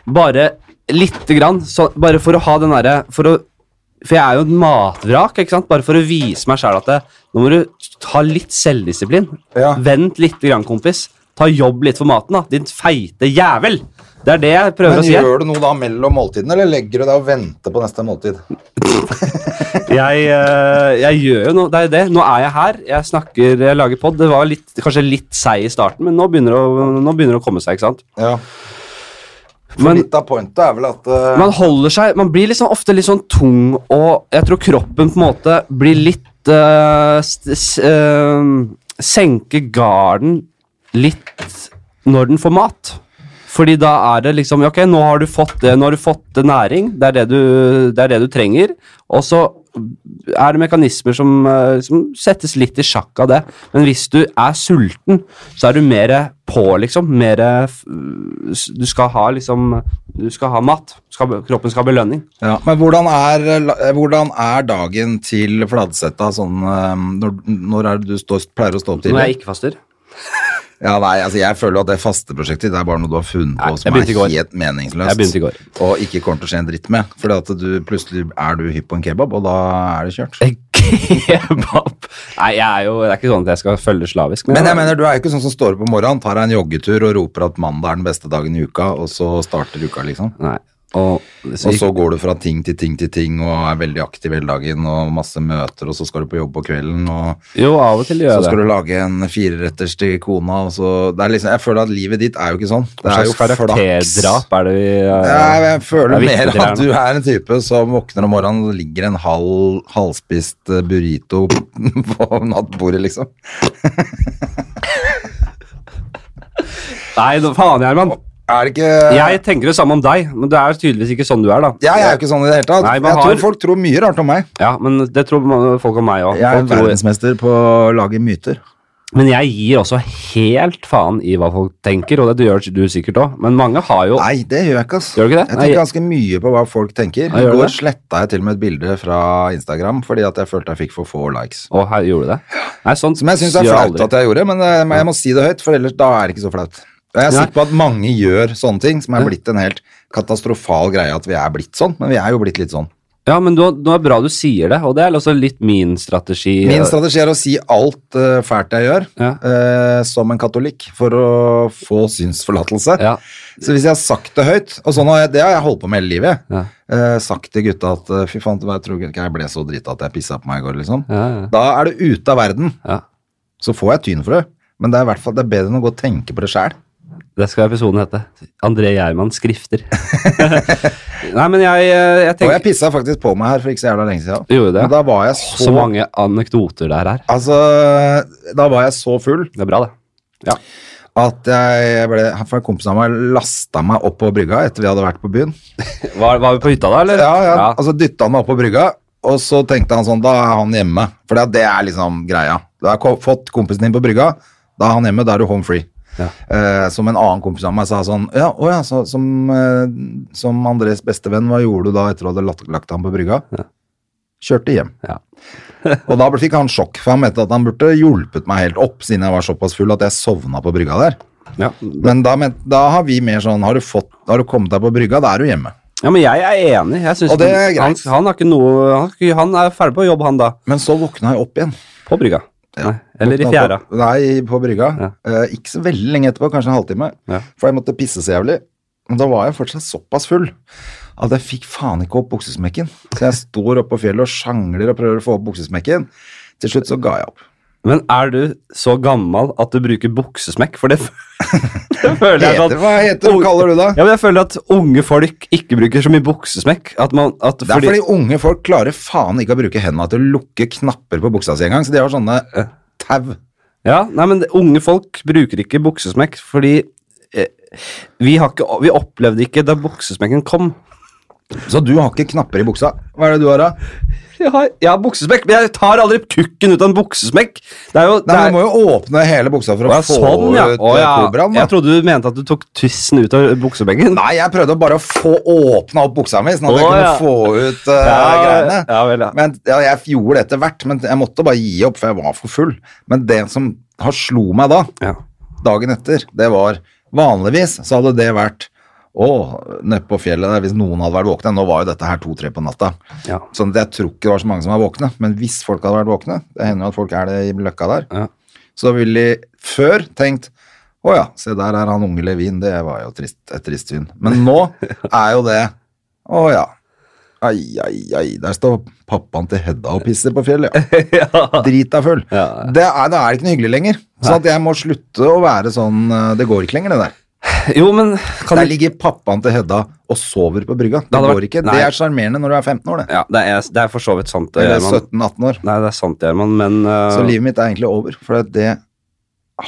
Speaker 1: bare lite grann, så bare for å ha den derre For å for jeg er jo et matvrak, ikke sant? bare for å vise meg sjæl at det, nå må du ha litt selvdisiplin.
Speaker 2: Ja.
Speaker 1: Vent lite grann, kompis. Ta jobb litt for maten, da. Din feite jævel! Det er det jeg prøver
Speaker 2: Men
Speaker 1: å si. her.
Speaker 2: gjør du noe da mellom måltidene, eller legger du deg og venter på neste måltid?
Speaker 1: Jeg, eh, jeg gjør jo noe, det er jo det. Nå er jeg her, jeg snakker, jeg lager pod. Det var litt, kanskje litt seig i starten, men nå begynner det å, nå begynner det å komme seg, ikke sant.
Speaker 2: Ja. For
Speaker 1: Men
Speaker 2: litt av pointet er vel at eh,
Speaker 1: man holder seg, man blir liksom ofte litt sånn tung, og jeg tror kroppen på en måte blir litt eh, st- s- eh, Senker garden litt når den får mat. Fordi da er det liksom Ok, nå har du fått det, nå har du fått næring, det er det du, det er det du trenger. Og så er det mekanismer som, eh, som settes litt i sjakk av det. Men hvis du er sulten, så er du mer på, liksom. Mer eh, f- Du skal ha liksom Du skal ha mat. Skal, kroppen skal ha belønning.
Speaker 2: Ja, men hvordan er, eh, hvordan er dagen til Fladsetta sånn eh, Når, når er det du står, pleier å stå opp
Speaker 1: Når jeg
Speaker 2: tidlig?
Speaker 1: ikke faster.
Speaker 2: Ja, nei, altså jeg føler jo at det fasteprosjektet det er bare noe du har funnet
Speaker 1: Nei,
Speaker 2: på
Speaker 1: jeg
Speaker 2: som
Speaker 1: begynte i går.
Speaker 2: er helt meningsløst.
Speaker 1: Jeg begynte i går.
Speaker 2: Og ikke kommer til å skje en dritt med. Fordi at du plutselig er du hypp på en kebab, og da er det kjørt.
Speaker 1: Kebab. Nei, jeg er jo Det er ikke sånn at jeg skal følge slavisk.
Speaker 2: Men jeg mener, du er jo ikke sånn som står opp om morgenen, tar deg en joggetur og roper at mandag er den beste dagen i uka, og så starter uka, liksom.
Speaker 1: Nei. Og,
Speaker 2: Og så går du fra ting til ting til ting og er veldig aktiv hele dagen og masse møter, og så skal du på jobb på kvelden og
Speaker 1: Jo, av og til gjør
Speaker 2: Så
Speaker 1: jeg det.
Speaker 2: skal du lage en fireretters til kona, og så det er liksom, Jeg føler at livet ditt er jo ikke sånn. Det
Speaker 1: Hva
Speaker 2: er jo
Speaker 1: slags karakterdrap er det vi eh,
Speaker 2: Jeg, jeg føler
Speaker 1: er viktig
Speaker 2: mer
Speaker 1: til her
Speaker 2: at
Speaker 1: nå?
Speaker 2: du er en type som våkner om morgenen og ligger en halv, halvspist eh, burrito på nattbordet, liksom.
Speaker 1: Nei, nå- faen, Gjerman.
Speaker 2: Er det ikke
Speaker 1: Jeg tenker det samme om deg, men det er tydeligvis ikke sånn du er, da.
Speaker 2: Jeg er jo ikke sånn i det hele tatt.
Speaker 1: Nei, man
Speaker 2: jeg
Speaker 1: har-
Speaker 2: tror folk tror mye rart om meg.
Speaker 1: Ja, men det tror man- folk om meg òg.
Speaker 2: Jeg er verdensmester på å lage myter.
Speaker 1: Men jeg gir også helt faen i hva folk tenker, og det gjør du sikkert òg. Men mange har jo
Speaker 2: Nei, det gjør jeg ikke, ass.
Speaker 1: Gjør du ikke det?
Speaker 2: Jeg
Speaker 1: Nei,
Speaker 2: tenker
Speaker 1: jeg-
Speaker 2: ganske mye på hva folk tenker.
Speaker 1: Ja,
Speaker 2: I
Speaker 1: gjør du
Speaker 2: går
Speaker 1: det?
Speaker 2: sletta jeg til og med et bilde fra Instagram fordi at jeg følte jeg fikk for få likes.
Speaker 1: Å, her gjorde du det? Nei, sånt
Speaker 2: Som jeg syns er
Speaker 1: gjør
Speaker 2: flaut
Speaker 1: aldri.
Speaker 2: at jeg gjorde, men eh, men jeg må si det høyt, for ellers da er det ikke så flaut. Og Jeg er
Speaker 1: Nei.
Speaker 2: sikker på at mange gjør sånne ting, som er
Speaker 1: Ja.
Speaker 2: blitt en helt katastrofal greie at vi er blitt sånn, men vi er jo blitt litt sånn.
Speaker 1: Ja, men nå, nå er det bra du sier det, og det er også litt min strategi.
Speaker 2: Min strategi er å si alt eh, fælt jeg gjør,
Speaker 1: Ja.
Speaker 2: eh, som en katolikk, for å få synsforlatelse.
Speaker 1: Ja.
Speaker 2: Så hvis jeg har sagt det høyt, og sånn har jeg, det har jeg holdt på med hele livet,
Speaker 1: Ja.
Speaker 2: eh, sagt til gutta at eh, fy faen, jeg tror ikke jeg ble så drita at jeg pissa på meg i går, liksom.
Speaker 1: Ja, ja,
Speaker 2: Da er det ute av verden.
Speaker 1: ja.
Speaker 2: Så får jeg tyn for det, men det er i hvert fall det er bedre enn å gå og tenke på det sjæl.
Speaker 1: Det skal episoden hete. André Gjermann skrifter. Nei, men jeg, eh, jeg
Speaker 2: Og
Speaker 1: tenker
Speaker 2: jeg pissa faktisk på meg her for ikke så jævla lenge siden.
Speaker 1: Gjorde du det?
Speaker 2: Men da var jeg så,
Speaker 1: Så mange anekdoter der her.
Speaker 2: Altså, da var jeg så full
Speaker 1: Det er bra, det. Ja.
Speaker 2: at jeg ble For kompisen av meg lasta meg opp på brygga etter vi hadde vært på byen.
Speaker 1: Var, var vi på hytta da, eller?
Speaker 2: Ja, ja. Altså dytta han meg opp på brygga, og så tenkte han sånn Da er han hjemme. For det, det er liksom greia. Du har ko- fått kompisen din på brygga, da er han hjemme, da er du home free.
Speaker 1: Ja.
Speaker 2: Eh, som en annen kompis av meg sa sånn Ja, å ja, så, som, eh, som Andres bestevenn, hva gjorde du da etter at du hadde lagt, lagt ham på brygga? Kjørte hjem.
Speaker 1: Ja.
Speaker 2: og da ble- fikk han sjokk, for han mente at han burde hjulpet meg helt opp, siden jeg var såpass full at jeg sovna på brygga der.
Speaker 1: Ja.
Speaker 2: Men da, men, da har vi mer sånn Har du, fått, har du kommet deg på brygga, da er du hjemme.
Speaker 1: ja, men jeg er enig. Jeg synes
Speaker 2: Og det er
Speaker 1: ikke- han,
Speaker 2: greit.
Speaker 1: han har ikke noe han, har ikke- han er ferdig på jobb, han da.
Speaker 2: Men så våkna jeg opp igjen.
Speaker 1: På brygga. Nei, eller i
Speaker 2: Våkna
Speaker 1: fjæra.
Speaker 2: opp- Nei, på brygga.
Speaker 1: Ja.
Speaker 2: Eh, ikke så veldig lenge etterpå, kanskje en halvtime.
Speaker 1: Ja.
Speaker 2: For jeg måtte pisse så jævlig. Men da var jeg fortsatt såpass full at jeg fikk faen ikke opp buksesmekken. Så jeg står oppe på fjellet og sjangler og prøver å få opp buksesmekken. Til slutt så ga jeg opp.
Speaker 1: Men er du så gammel at du bruker buksesmekk? For det, det sånn- føler jeg
Speaker 2: Heter, hva heter, hva kaller du det?
Speaker 1: Ja, men jeg føler at unge folk ikke bruker så mye buksesmekk. At man, at
Speaker 2: Det er fordi unge folk klarer faen ikke å bruke hendene til å lukke knapper på buksa si engang, så de har sånne tau.
Speaker 1: Ja, nei, men det- unge folk bruker ikke buksesmekk fordi eh, vi, har ikke, vi opplevde ikke da buksesmekken kom.
Speaker 2: Så du har ikke knapper i buksa. Hva er det du har, da?
Speaker 1: Jeg har, jeg har buksesmekk, men jeg tar aldri kukken ut av en buksesmekk. Det er jo
Speaker 2: Nei,
Speaker 1: det
Speaker 2: men
Speaker 1: er,
Speaker 2: Du må jo åpne hele buksa for å
Speaker 1: ja,
Speaker 2: få
Speaker 1: sånn, ja.
Speaker 2: ut
Speaker 1: Å,
Speaker 2: eh,
Speaker 1: ja.
Speaker 2: kobraen. da.
Speaker 1: Jeg trodde du mente at du tok tissen ut av buksebenken.
Speaker 2: Nei, jeg prøvde bare å få åpna opp buksa mi, sånn at jeg
Speaker 1: Å,
Speaker 2: kunne
Speaker 1: ja.
Speaker 2: få ut eh,
Speaker 1: Ja,
Speaker 2: greiene.
Speaker 1: ja vel, ja.
Speaker 2: Men ja, Jeg gjorde det etter hvert, men jeg måtte bare gi opp, for jeg var for full. Men det som har slo meg da,
Speaker 1: Ja.
Speaker 2: dagen etter, det var Vanligvis så hadde det vært å, nede på fjellet der, hvis noen hadde vært våkne. Nå var jo dette her to-tre på natta.
Speaker 1: Ja.
Speaker 2: Så jeg tror ikke det var så mange som var våkne. Men hvis folk hadde vært våkne, det hender jo at folk er det i løkka der,
Speaker 1: Ja.
Speaker 2: så ville de før tenkt å ja, se der er han unge Levin, det var jo trist, et trist syn. Men nå er jo det å ja. Ai, ai, ai, der står pappaen til Hedda og pisser på fjellet. Ja. Drita full.
Speaker 1: Ja.
Speaker 2: Det er, da er det ikke noe hyggelig lenger. Så at jeg må slutte å være sånn eh, Det går ikke lenger, det der.
Speaker 1: Jo, men kan
Speaker 2: Der
Speaker 1: du
Speaker 2: ligger pappaen til Hedda og sover på brygga. Det,
Speaker 1: hadde
Speaker 2: går
Speaker 1: vært-
Speaker 2: ikke.
Speaker 1: nei.
Speaker 2: Det er sjarmerende når du er 15 år, det.
Speaker 1: ja, det, er, det er for så vidt sant. det,
Speaker 2: Eller
Speaker 1: Gjerman.
Speaker 2: 17-18 år.
Speaker 1: Nei, det er sant, Gjerman, men eh,
Speaker 2: Så livet mitt er egentlig over. For at det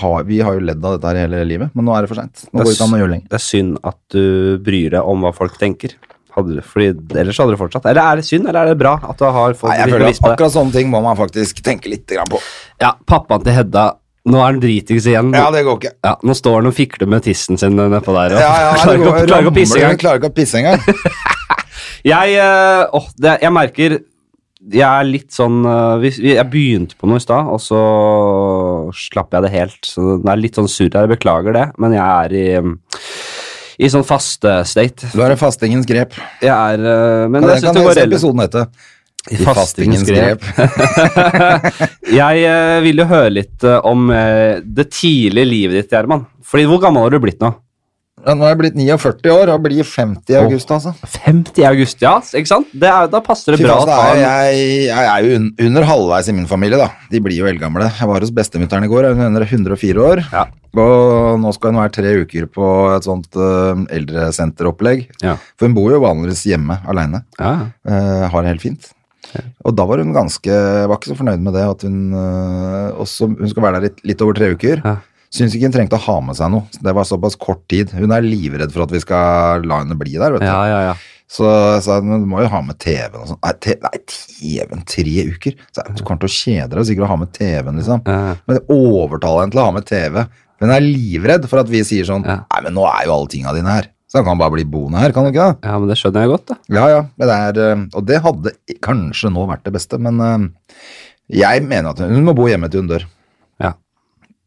Speaker 2: har, vi har jo ledd av dette her hele livet, men nå er det for seint. Nå
Speaker 1: Det er
Speaker 2: går det ikke an å gjøre lenger.
Speaker 1: det er synd at du bryr deg om hva folk tenker. Hadde du, fordi Ellers hadde du fortsatt. Eller er det synd, eller er det bra at du har folk
Speaker 2: Nei, jeg
Speaker 1: blitt
Speaker 2: føler at
Speaker 1: bevisst på det?
Speaker 2: Akkurat sånne ting må man faktisk tenke litt grann på.
Speaker 1: Ja, pappaen til Hedda Nå er han dritings igjen.
Speaker 2: Ja, det går ikke.
Speaker 1: Ja, nå står han og fikler med tissen sin nedpå der. Og
Speaker 2: Ja, ja, nei, det
Speaker 1: klarer, ikke, å-
Speaker 2: går-
Speaker 1: klarer ikke å pisse
Speaker 2: ramler,
Speaker 1: engang.
Speaker 2: Klarer ikke å pisse engang.
Speaker 1: Jeg, eh, åh, det, jeg merker Jeg er litt sånn eh, hvis, vi- Jeg begynte på noe i stad, og så slapp jeg det helt. Så det er litt sånn surr her. Jeg beklager det, men jeg er i i sånn faste state.
Speaker 2: Du er det fastingens grep.
Speaker 1: Jeg er eh, Men
Speaker 2: Ja,
Speaker 1: jeg
Speaker 2: det
Speaker 1: syns
Speaker 2: kan
Speaker 1: det går
Speaker 2: hese
Speaker 1: relativt
Speaker 2: episoden hete. I
Speaker 1: fastingens grep. Jeg eh, vil jo høre litt eh, om eh, det tidlige livet ditt, Gjerman. Fordi hvor gammel har du blitt nå?
Speaker 2: Ja, nå er jeg blitt 49 år og blir 50 i august, altså.
Speaker 1: 50 i august, ja. Ikke sant? Det er, da passer det
Speaker 2: Fy
Speaker 1: bra
Speaker 2: faen,
Speaker 1: å
Speaker 2: det
Speaker 1: ta
Speaker 2: er,
Speaker 1: en
Speaker 2: jeg, jeg er jo un, under halvveis i min familie, da. De blir jo eldgamle. Jeg var hos bestemutteren i går, hun er 104 år.
Speaker 1: Ja.
Speaker 2: Og nå skal hun være tre uker på et sånt eh, eldresenteropplegg.
Speaker 1: Ja.
Speaker 2: For hun bor jo vanligvis hjemme aleine.
Speaker 1: Ja.
Speaker 2: Eh, har det helt fint. Og da var hun ganske Var ikke så fornøyd med det at hun eh, også, Hun skal være der litt, litt over tre uker.
Speaker 1: Ja.
Speaker 2: Syns ikke hun trengte å ha med seg noe. Det var såpass kort tid. Hun er livredd for at vi skal la henne bli der. vet du.
Speaker 1: ja, ja, ja.
Speaker 2: Så jeg sa men du må jo ha med TV-en og sånn. Nei, te- nei, TV-en tre uker? Så jeg, du kommer til å kjede deg sikkert å ha med TV-en, liksom.
Speaker 1: Ja.
Speaker 2: Men overtale henne til å ha med TV. Men hun er livredd for at vi sier sånn
Speaker 1: Ja.
Speaker 2: Nei, men nå er jo alle tinga dine her. Så han kan bare bli boende her, kan du ikke det?
Speaker 1: ja, men det skjønner jeg godt, da.
Speaker 2: Ja, ja. Men det er, eh, og det hadde i- kanskje nå vært det beste, men eh, jeg mener at hun må bo hjemme til hun dør.
Speaker 1: Ja.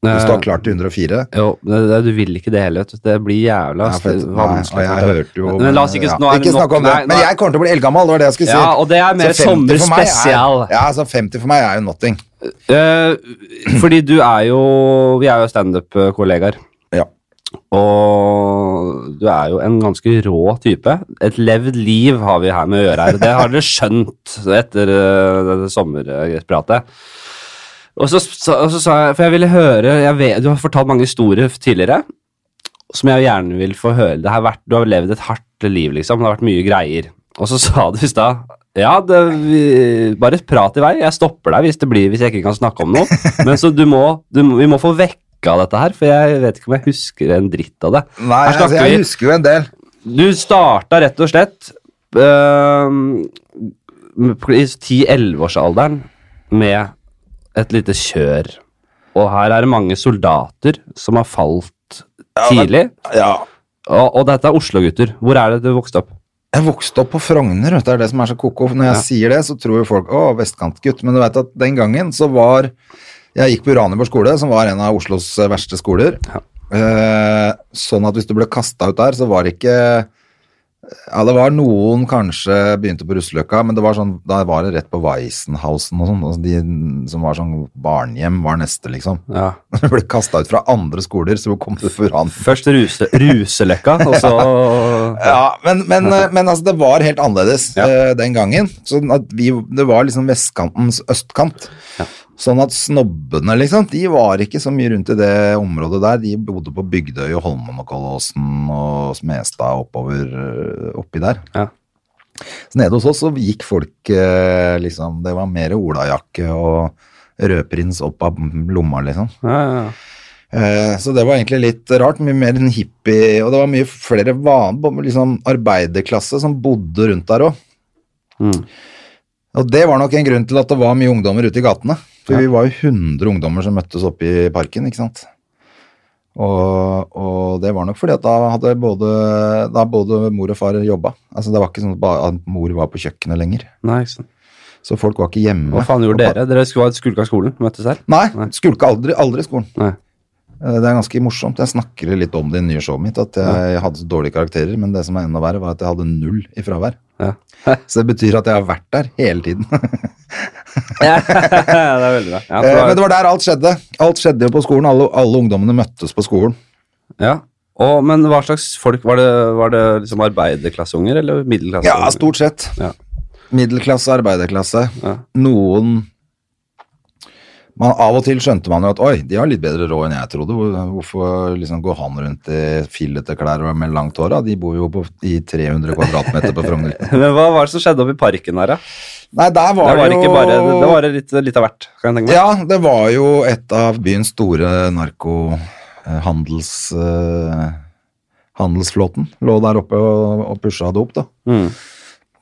Speaker 2: Hun
Speaker 1: Eh,
Speaker 2: står klart til 104.
Speaker 1: Jo, det, det, du vil ikke det heller, vet du. Det blir jævla
Speaker 2: Ja, for-
Speaker 1: vanskelig.
Speaker 2: Nei, og jeg hørte jo
Speaker 1: Men- Men la oss ikke
Speaker 2: ja.
Speaker 1: Nå er det
Speaker 2: Ikke
Speaker 1: nok.
Speaker 2: snakk om det.
Speaker 1: Nei,
Speaker 2: Men
Speaker 1: nei.
Speaker 2: jeg kommer til å bli eldgammel, det var det jeg skulle si.
Speaker 1: Ja, og det er mer
Speaker 2: Så 50 for meg er-
Speaker 1: sommerspesial.
Speaker 2: Ja, så 50 for meg er jo nothing.
Speaker 1: Eh, fordi du er jo Vi er jo standup-kollegaer.
Speaker 2: Ja.
Speaker 1: Og du er jo en ganske rå type. Et levd liv har vi her med å gjøre her. Det har dere skjønt etter eh, dette sommerpratet. Og så, så, og så sa jeg, for jeg ville høre jeg vet, Du har fortalt mange historier tidligere som jeg gjerne vil få høre. Det har vært, du har levd et hardt liv, liksom. Det har vært mye greier. Og så sa du i stad ja, det, vi, bare prat i vei. Jeg stopper deg hvis, det blir, hvis jeg ikke kan snakke om noe. Men så du må, du, må- vi må få vekka dette her, for jeg vet ikke om jeg husker en dritt av det.
Speaker 2: Nei,
Speaker 1: Her snakker
Speaker 2: altså, jeg
Speaker 1: vi-
Speaker 2: husker jo en del.
Speaker 1: Du starta rett og slett øhm, i 10-11-årsalderen med et lite kjør. Og her er det mange soldater som har falt tidlig.
Speaker 2: Ja.
Speaker 1: Og, og dette er Oslo-gutter. Hvor er det du vokste opp?
Speaker 2: Jeg vokste opp på Frogner, vet du, det er det som er så ko-ko. Når jeg sier det, så tror jo folk å, vestkantgutt. Men du vet at den gangen så var Jeg gikk på Uranienborg skole, som var en av Oslos eh, verste skoler.
Speaker 1: Ja.
Speaker 2: Eh, sånn at hvis du ble kasta ut der, så var det ikke Ja, det var noen kanskje begynte på Russeløkka, men det var sånn, da var det rett på Weissenhausen og sånn. Altså de som var sånn barnehjem, var neste, liksom.
Speaker 1: Ja.
Speaker 2: Du ble kasta ut fra andre skoler, så kom du foran.
Speaker 1: Først ruse, Ruseløkka, og så
Speaker 2: Ja, men, men, eh, men altså, det var helt annerledes
Speaker 1: Ja.
Speaker 2: eh, den gangen. Sånn at vi, det var liksom vestkantens østkant. Sånn at snobbene, liksom, de var ikke så mye rundt i det området der. De bodde på Bygdøy og Holmen og Kolåsen og Smestad oppover eh, oppi der.
Speaker 1: Ja.
Speaker 2: Så nede hos oss så gikk folk eh, liksom Det var mer olajakke og rødprins opp av lomma, liksom.
Speaker 1: Ja, ja, ja.
Speaker 2: Eh, Så det var egentlig litt rart, mye mer en hippie, og det var mye flere vanlige, liksom arbeiderklasse som bodde rundt der òg.
Speaker 1: Mm.
Speaker 2: Og det var nok en grunn til at det var mye ungdommer ute i gatene. For
Speaker 1: Ja.
Speaker 2: vi var jo 100 ungdommer som møttes oppe i parken, ikke sant. Og, og det var nok fordi at da hadde både, da både mor og far jobba. Altså det var ikke sånn at bare at mor var på kjøkkenet lenger.
Speaker 1: Nei, ikke sant.
Speaker 2: Så folk var ikke hjemme.
Speaker 1: Hva faen
Speaker 2: Og
Speaker 1: gjorde
Speaker 2: ba-
Speaker 1: dere? Dere skulle- skulka skolen? Møttes her?
Speaker 2: Nei,
Speaker 1: Nei.
Speaker 2: skulka aldri, aldri skolen.
Speaker 1: Nei.
Speaker 2: Eh, Det er ganske morsomt. Jeg snakker litt om det i nye showet mitt, at jeg hadde så dårlige karakterer, men det som er enda verre, var at jeg hadde null i fravær.
Speaker 1: Ja.
Speaker 2: Så det betyr at jeg har vært der hele tiden.
Speaker 1: ja, det er veldig bra. Ja,
Speaker 2: Eh,
Speaker 1: for
Speaker 2: men
Speaker 1: da-
Speaker 2: det var der alt skjedde. Alt skjedde jo på skolen. Alle, alle ungdommene møttes på skolen.
Speaker 1: ja. Og, men hva slags folk var det? Var det liksom arbeiderklasseunger eller middelklasseunger?
Speaker 2: Ja, stort sett.
Speaker 1: Altså, Ja.
Speaker 2: Middelklasse, arbeiderklasse.
Speaker 1: Ja.
Speaker 2: Noen man, Av og til skjønte man jo at oi, de har litt bedre råd enn jeg trodde. Hvor- Hvorfor liksom går han rundt i fillete klær og med langt hår? da? De bor jo på, i 300 kvadratmeter på Frogner.
Speaker 1: Men hva var det som skjedde oppe i parken her, da?
Speaker 2: Nei, der var
Speaker 1: Det
Speaker 2: det,
Speaker 1: var
Speaker 2: jo
Speaker 1: ikke bare, det, det var litt, litt av hvert, kan jeg tenke meg.
Speaker 2: Ja, det var jo et av byens store narkohandels... Eh, handelsflåten lå der oppe og, og pusha det opp, da.
Speaker 1: Mm.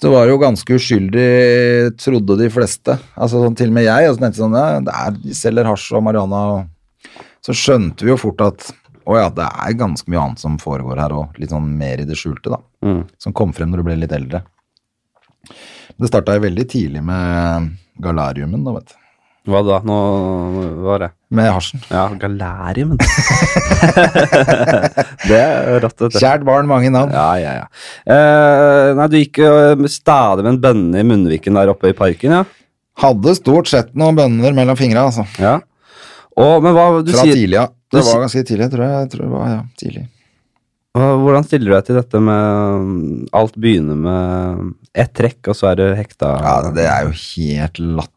Speaker 2: Det var jo ganske uskyldig, trodde de fleste. Altså sånn, Til og med jeg. Og så tenkte jeg sånn, ja, det er, de selger hasj og marihuana. Og så skjønte vi jo fort at å ja, det er ganske mye annet som foregår her òg. Litt sånn mer i det skjulte, da
Speaker 1: Mm.
Speaker 2: som kom frem når du ble litt eldre. Det starta jo veldig tidlig med galariumen, da, vet du.
Speaker 1: Hva da? Nå hva var det
Speaker 2: Med hasjen.
Speaker 1: Ja, galariumen. det er rått, vet du.
Speaker 2: Kjært barn, mange navn.
Speaker 1: Ja, ja, ja. Eh, nei, du gikk jo stadig med en bønne i munnviken der oppe i parken, ja.
Speaker 2: Hadde stort sett noen bønner mellom fingra, altså.
Speaker 1: ja. Og, men hva du
Speaker 2: Fra
Speaker 1: sier
Speaker 2: tidlig av.
Speaker 1: du
Speaker 2: Det
Speaker 1: sier-
Speaker 2: var ganske tidlig, tror jeg. jeg tror det var, ja, tidlig.
Speaker 1: hva- Hvordan stiller du deg til dette med mm, Alt begynner med ett trekk, og så er du hekta
Speaker 2: Ja, det er jo helt latterlig.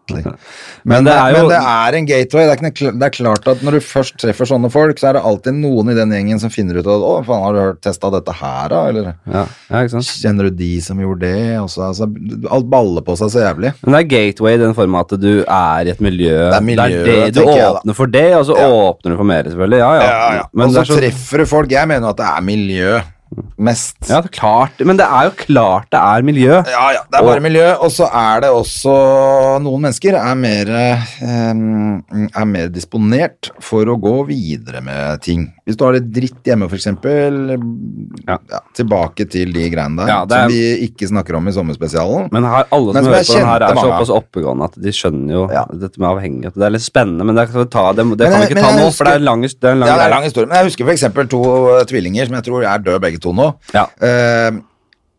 Speaker 1: Men
Speaker 2: Men, eh,
Speaker 1: det er jo-
Speaker 2: men det er en gateway. Det er, ikke, noe kl- det er klart at når du først treffer sånne folk, så er det alltid noen i den gjengen som finner ut at 'Å, faen, har du hørt testa dette her, da?' Eller
Speaker 1: ja, ja, ikke sant?
Speaker 2: kjenner du de som gjorde det? Og så, altså, alt baller på seg så jævlig.
Speaker 1: Men det er gateway i den form at du er i et miljø.
Speaker 2: er miljøet,
Speaker 1: det, du
Speaker 2: tenker jeg, da.
Speaker 1: åpner for det, og så åpner du for mer, selvfølgelig. Ja, ja. Men
Speaker 2: og
Speaker 1: det
Speaker 2: så
Speaker 1: er så, Mm.
Speaker 2: treffer du folk. Jeg mener jo at det er miljø mest.
Speaker 1: ja, det er klart. Men det er jo klart det er miljø.
Speaker 2: Ja, ja, det er
Speaker 1: Og-
Speaker 2: bare miljø, og så er det også Noen mennesker er mer, eh, er mer disponert for å gå videre med ting. Hvis du har det dritt hjemme, f.eks.
Speaker 1: Ja.
Speaker 2: Ja. tilbake til de greiene der
Speaker 1: Ja, det er-
Speaker 2: som vi ikke snakker om i sommerspesialen.
Speaker 1: Men her, alle
Speaker 2: Men
Speaker 1: som
Speaker 2: som
Speaker 1: hører
Speaker 2: jeg
Speaker 1: på den her,
Speaker 2: kjente
Speaker 1: er
Speaker 2: mange av.
Speaker 1: såpass oppegående at de skjønner jo
Speaker 2: Ja.
Speaker 1: dette med avhengighet. Det er litt spennende, men det, kan vi ta, det, det kan
Speaker 2: Men
Speaker 1: vi
Speaker 2: jeg-
Speaker 1: ikke
Speaker 2: men
Speaker 1: ta
Speaker 2: jeg
Speaker 1: nå,
Speaker 2: husker-
Speaker 1: for det er en lang, det er en lang
Speaker 2: Ja, det er en
Speaker 1: greie.
Speaker 2: lang historie. Men jeg husker f.eks. to eh, tvillinger som jeg tror er døde begge to nå.
Speaker 1: Ja.
Speaker 2: Eh,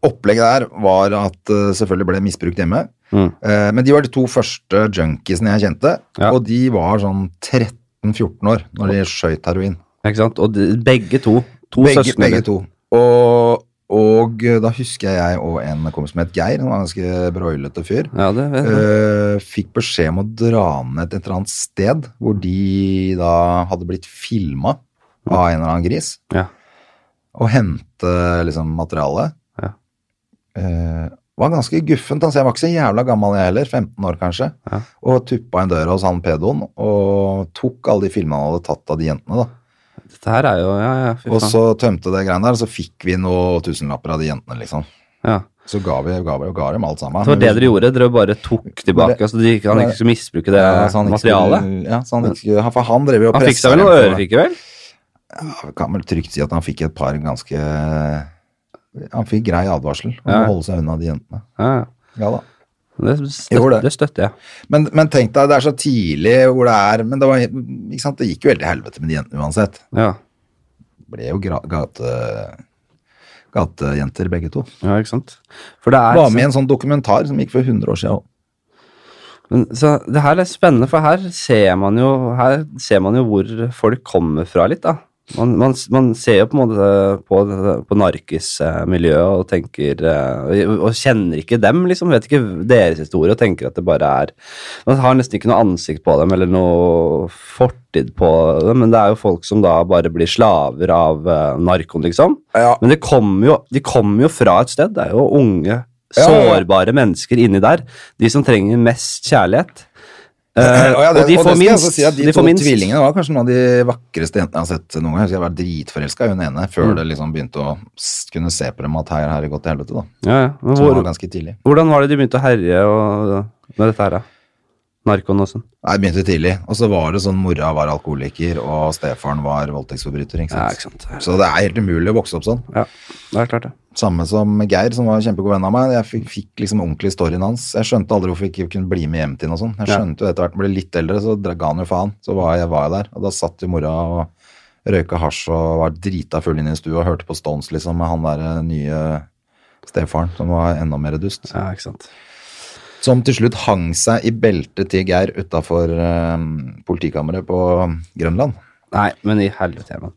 Speaker 2: opplegget der var at eh, selvfølgelig ble misbrukt hjemme.
Speaker 1: Mm.
Speaker 2: Eh, men de var de to første junkiesene jeg kjente,
Speaker 1: Ja.
Speaker 2: og de var sånn 13-14 år når de skøyt heroin.
Speaker 1: Ikke sant? Og de, begge to. To
Speaker 2: Begge,
Speaker 1: søsken.
Speaker 2: begge to. Og, og eh, da husker jeg og en kompis som het Geir, han var en ganske broilete fyr.
Speaker 1: Ja, det vet jeg.
Speaker 2: Eh, fikk beskjed om å dra ned til et eller annet sted hvor de da hadde blitt filma av en eller annen gris,
Speaker 1: Ja.
Speaker 2: og hente liksom materialet.
Speaker 1: Ja.
Speaker 2: Eh, var ganske guffent. Altså, jeg var ikke så jævla gammel jeg heller, 15 år kanskje,
Speaker 1: Ja.
Speaker 2: og tuppa inn døra hos han pedoen og tok alle de filmene han hadde tatt av de jentene. da.
Speaker 1: Dette her er jo Ja, ja, fy
Speaker 2: Og
Speaker 1: faen.
Speaker 2: så tømte det greiene der, og så fikk vi noen tusenlapper av de jentene, liksom.
Speaker 1: Ja.
Speaker 2: Så ga vi, ga vi, ga dem alt sammen.
Speaker 1: Det var det
Speaker 2: Men vi-
Speaker 1: dere gjorde. Dere bare tok tilbake. Altså, de, han ikke skulle misbruke det
Speaker 2: Ja, så han ikke
Speaker 1: materialet.
Speaker 2: skulle- Ja, så han ikke skulle, for han drev jo og
Speaker 1: Han fiksa
Speaker 2: pressa
Speaker 1: vel
Speaker 2: dem
Speaker 1: noe
Speaker 2: for-
Speaker 1: ørefikke, vel?
Speaker 2: Ja, vi kan vel trygt si at han fikk et par ganske Han fikk grei advarsel om
Speaker 1: Ja.
Speaker 2: å holde seg unna de jentene.
Speaker 1: Ja, ja.
Speaker 2: Ja da.
Speaker 1: Det støtter, det.
Speaker 2: Gjorde det.
Speaker 1: støtter jeg.
Speaker 2: Men, men tenk deg, det er så tidlig hvor det er Men det, var, ikke sant? det gikk jo helt til helvete med de jentene uansett.
Speaker 1: Ja.
Speaker 2: Det ble jo gra- gate, gatejenter, begge to.
Speaker 1: Ja, ikke sant? For det er
Speaker 2: Var med i en sånn dokumentar som gikk for 100 år siden òg.
Speaker 1: Men, så det her er spennende, for her ser man jo, her ser man jo hvor folk kommer fra litt, da. Man, man, man ser jo på en måte på, på narkismiljøet og tenker eh, og, og kjenner ikke dem, liksom. Vet ikke deres historie og tenker at det bare er Man har nesten ikke noe ansikt på dem eller noe fortid på dem, men det er jo folk som da bare blir slaver av eh, narkoen, liksom.
Speaker 2: Ja.
Speaker 1: Men de kommer jo, de kommer jo fra et sted. Det er jo unge,
Speaker 2: Ja, ja, ja.
Speaker 1: sårbare mennesker inni der. De som trenger mest kjærlighet. Eh,
Speaker 2: ja, det-
Speaker 1: og de
Speaker 2: og det
Speaker 1: får
Speaker 2: skal jeg
Speaker 1: minst.
Speaker 2: også Si at de,
Speaker 1: de
Speaker 2: to
Speaker 1: får minst.
Speaker 2: tvillingene var kanskje noen av de vakreste jentene jeg har sett noen gang. Jeg husker jeg var dritforelska i hun ene før
Speaker 1: Mm.
Speaker 2: det liksom begynte å s- kunne se på dem at her har det gått til helvete, da.
Speaker 1: Ja, ja. Men
Speaker 2: Som
Speaker 1: Hvor,
Speaker 2: var ganske tidlig.
Speaker 1: hvordan var det de begynte å herje og, med dette her, da? Narkoen og sånn.
Speaker 2: Nei, begynte tidlig. Og så var det sånn mora var alkoholiker, og stefaren var voldtektsforbryter. Ikke
Speaker 1: Ja,
Speaker 2: sant?
Speaker 1: ikke sant.
Speaker 2: Så det er helt umulig å vokse opp sånn.
Speaker 1: Ja, det er klart, det.
Speaker 2: Samme som Geir, som var en kjempegod venn av meg. Jeg fikk, fikk liksom ordentlig storyen hans. Jeg skjønte aldri hvorfor jeg ikke kunne bli med hjem til noe sånt. Jeg
Speaker 1: Ja.
Speaker 2: skjønte jo etter hvert, ble litt eldre, så dra- ga han jo faen. Så var jeg, var jeg der, og da satt jo mora og røyka hasj og var drita full inne i stua og hørte på Stones liksom med han der nye stefaren, som var enda mer dust.
Speaker 1: Ja, ikke sant.
Speaker 2: Som til slutt hang seg i beltet til Geir utafor eh, politikammeret på Grønland.
Speaker 1: Nei, men i helvete, Herman.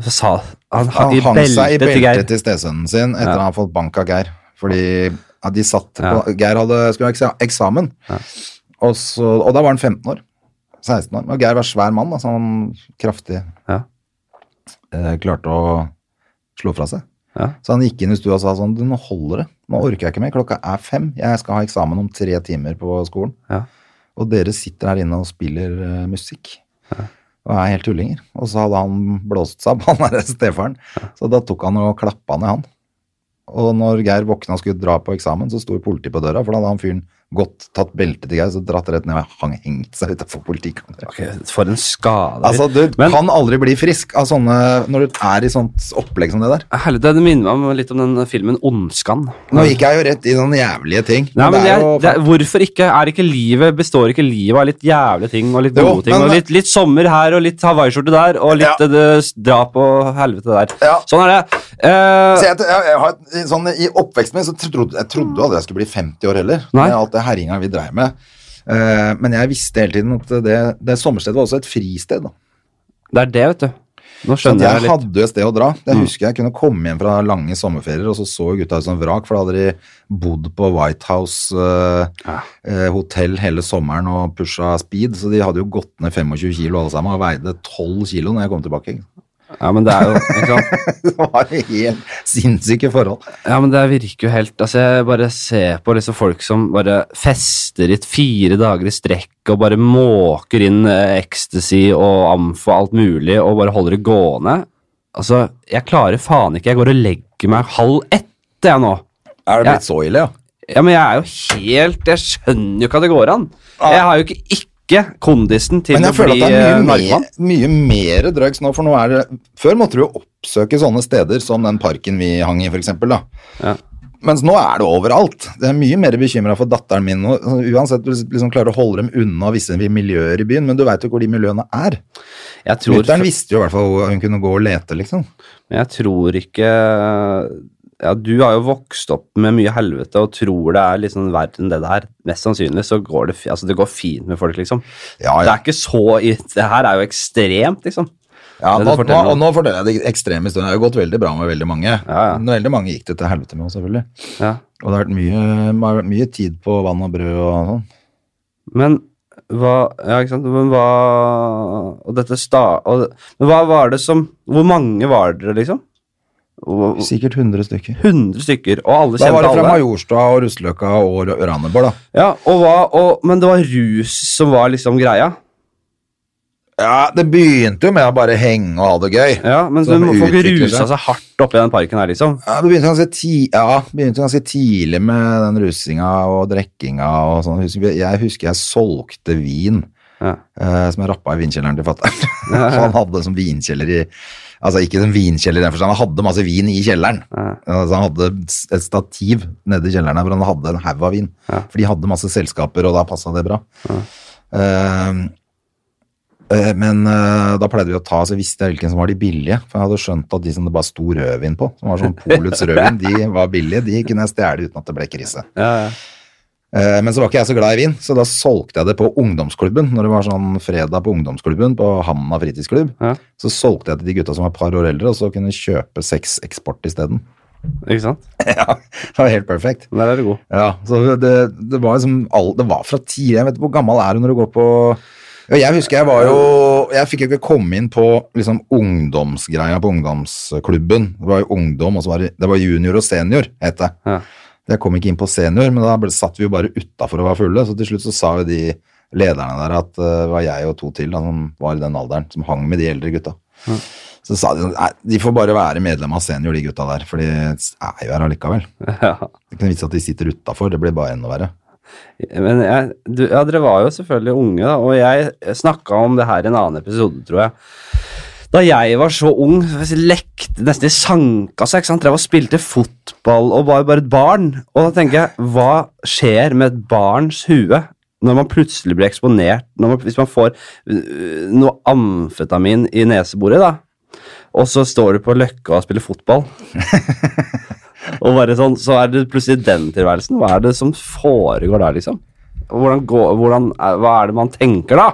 Speaker 1: Så Sa, han
Speaker 2: Han
Speaker 1: i
Speaker 2: hang seg i
Speaker 1: beltet til Geir.
Speaker 2: beltet til stesønnen sin etter
Speaker 1: Ja.
Speaker 2: han har fått bank av Geir. Fordi ja, de satt på
Speaker 1: Ja.
Speaker 2: Geir hadde, skulle ha eksa- eksamen, og, så, og da var han 15 år. 16 år. Og Geir var svær mann, da, så han kraftig
Speaker 1: Ja,
Speaker 2: eh, klarte å slå fra seg.
Speaker 1: ja.
Speaker 2: Så han gikk inn i stua og sa sånn Du, nå holder det. Nå orker jeg ikke mer. Klokka er fem. Jeg skal ha eksamen om tre timer på skolen.
Speaker 1: Ja.
Speaker 2: Og dere sitter her inne og spiller eh, musikk. Og er helt tullinger. Og så hadde han blåst seg opp, han derre stefaren. Så da tok han og klappa ned han. Og når Geir våkna og skulle dra på eksamen, så sto politiet på døra, for da hadde han fyren gått, tatt beltet til Geir, så dratt rett ned og hang hengt seg utafor politikammeret.
Speaker 1: Ok, for en skade.
Speaker 2: Altså, du
Speaker 1: Men-
Speaker 2: kan aldri bli frisk av sånne Når du er i sånt opplegg som det der.
Speaker 1: Helvete, det minner meg om- litt om den filmen Ondskan.
Speaker 2: Nå gikk jeg jo rett i sånne jævlige ting.
Speaker 1: Nei, men
Speaker 2: det er
Speaker 1: jeg,
Speaker 2: jo
Speaker 1: det er, hvorfor ikke? Er ikke livet, består ikke livet av litt jævlige ting og litt
Speaker 2: Jo,
Speaker 1: gode ting?
Speaker 2: men-
Speaker 1: og litt, litt sommer her og litt hawaiiskjorte der og litt
Speaker 2: Ja.
Speaker 1: eh, det, drap og helvete der.
Speaker 2: Ja.
Speaker 1: Sånn er det. Eh,
Speaker 2: Så jeg, jeg, jeg har, et- sånn, I oppveksten min så trodde jeg trodde jo aldri jeg skulle bli 50 år heller.
Speaker 1: Nei.
Speaker 2: Med alt det herjinga vi dreiv med. Eh, men jeg visste hele tiden at det, det sommerstedet var også et fristed. Da.
Speaker 1: det er det, vet du. Nå
Speaker 2: Så at
Speaker 1: skjønner jeg
Speaker 2: jeg
Speaker 1: litt. Mm.
Speaker 2: hadde jo et sted å dra. Jeg husker jeg kunne komme hjem fra lange sommerferier, og så så gutta ut som vrak, for da hadde de bodd på White House eh,
Speaker 1: Ja.
Speaker 2: eh, hotell hele sommeren og pusha speed, så de hadde jo gått ned 25 kilo alle sammen og veide 12 kilo når jeg kom tilbake. ikke sant?
Speaker 1: Ja, men det er jo ikke sant?
Speaker 2: Det var helt sinnssyke forhold.
Speaker 1: Ja, men det virker jo helt Altså, jeg bare ser på liksom folk som bare fester i fire dager i strekk og bare måker inn eh, ecstasy og amf og alt mulig og bare holder det gående. Altså, jeg klarer faen ikke. Jeg går og legger meg halv ett, jeg nå.
Speaker 2: Er
Speaker 1: Ja.
Speaker 2: det blitt så ille, ja?
Speaker 1: Ja, men jeg er jo helt Jeg skjønner jo ikke at det går an. Jeg har jo ikke ikke kondisen til
Speaker 2: Men
Speaker 1: å
Speaker 2: jeg føler
Speaker 1: bli
Speaker 2: at det
Speaker 1: eh,
Speaker 2: er mye,
Speaker 1: narkoman.
Speaker 2: mer- mye mer drugs nå, for nå er det Før måtte du jo oppsøke sånne steder som den parken vi hang i, for eksempel, da.
Speaker 1: Ja.
Speaker 2: Mens nå er det overalt. Det er mye mer bekymra for datteren min nå. Så Uansett, du liksom klarer å holde dem unna visse miljøer i byen, men du veit jo ikke hvor de miljøene er.
Speaker 1: Jeg tror,
Speaker 2: Mutter'n visste jo i hvert fall hvor hun kunne gå og lete, liksom.
Speaker 1: men jeg tror ikke ja, Du har jo vokst opp med mye helvete og tror det er liksom verre enn det det er. Mest sannsynlig så går det, fi- altså det går fint med folk, liksom.
Speaker 2: Ja,
Speaker 1: Det
Speaker 2: ja.
Speaker 1: er ikke så i, Det her er jo ekstremt, liksom.
Speaker 2: ja
Speaker 1: det
Speaker 2: nå,
Speaker 1: du
Speaker 2: nå,
Speaker 1: forteller
Speaker 2: og nå forteller jeg det ekstreme historien. Det har jo gått veldig bra med veldig mange.
Speaker 1: Ja, ja.
Speaker 2: Men Veldig mange gikk det til helvete med, selvfølgelig.
Speaker 1: Ja.
Speaker 2: Og det har vært mye, mye tid på vann og brød og sånn.
Speaker 1: Men hva Ja, ikke sant. Men hva Og dette sta... Og, men hva var det som Hvor mange var dere, liksom? Hvor-
Speaker 2: Sikkert 100 stykker.
Speaker 1: 100 stykker, og alle
Speaker 2: Da
Speaker 1: kjente
Speaker 2: var det fra
Speaker 1: alle.
Speaker 2: Majorstua og Russeløkka og Rø- Randaborg, da.
Speaker 1: Ja, og hva, og, men det var rus som var liksom greia.
Speaker 2: Ja, det begynte jo med å bare henge og ha det gøy.
Speaker 1: Ja, Men du
Speaker 2: Som
Speaker 1: må- får ikke
Speaker 2: utvikler seg.
Speaker 1: rusa seg hardt oppi den parken her, liksom.
Speaker 2: Ja, det begynte ganske, ti ja, det begynte ganske tidlig med den rusinga og drikkinga og sånn. Jeg husker- Jeg husker jeg solgte vin
Speaker 1: Ja.
Speaker 2: eh, som jeg rappa i vinkjelleren til fatter'n. han hadde det som vinkjeller i Altså ikke en vinkjeller i den forstand, han hadde masse vin i kjelleren.
Speaker 1: Ja.
Speaker 2: Altså, han hadde s- et stativ nede i kjelleren her, hvor han hadde en haug av vin. For de hadde masse selskaper, og da passa det bra. Eh, Ehm, Eh, Men eh, da pleide vi å ta, så visste jeg hvilken som var de billige. For jeg hadde skjønt at de som det bare sto rødvin på, som var sånn Poluts rødvin, de var billige. De kunne jeg stjele uten at det ble krise.
Speaker 1: Ja, ja.
Speaker 2: Eh, Men så var ikke jeg så glad i vin, så da solgte jeg det på ungdomsklubben. Når det var sånn fredag på ungdomsklubben på Hamna fritidsklubb,
Speaker 1: Ja.
Speaker 2: så solgte jeg til de gutta som var et par år eldre, og så kunne kjøpe seks eksport isteden.
Speaker 1: Ikke sant?
Speaker 2: Ja, det var helt perfekt.
Speaker 1: Der er du god.
Speaker 2: Ja, så det, det var liksom all, Det var fra tidlig Jeg vet ikke hvor gammel er du når du går på ja, Jeg husker jeg var jo Jeg fikk jo ikke komme inn på liksom ungdomsgreia på ungdomsklubben. Det var jo ungdom, og så var det, det var junior og senior, het det.
Speaker 1: Ja.
Speaker 2: Jeg kom ikke inn på senior, men da ble, satt vi jo bare utafor og var fulle. Så til slutt så sa jo de lederne der at eh, det var jeg og to til da, som var i den alderen, som hang med de eldre gutta. Så sa de sånn Nei, de får bare være medlem av senior, de gutta der, for de er jo her allikevel.
Speaker 1: Ja.
Speaker 2: Det er ikke noe vits at de sitter utafor, det blir bare enda verre.
Speaker 1: Men jeg, du, ja, dere var jo selvfølgelig unge, da, og jeg snakka om det her i en annen episode, tror jeg. Da jeg var så ung, lekte nesten i sandkassa, ikke sant? drev og spilte fotball og var jo bare et barn. Og da tenker jeg, hva skjer med et barns hue når man plutselig blir eksponert? Når man, hvis man får øh, noe amfetamin i neseboret, da, og så står du på Løkka og spiller fotball. Og bare sånn, så er det plutselig den tilværelsen. Hva er det som foregår der, liksom? Hvordan går, hvordan, er- hva er det man tenker, da?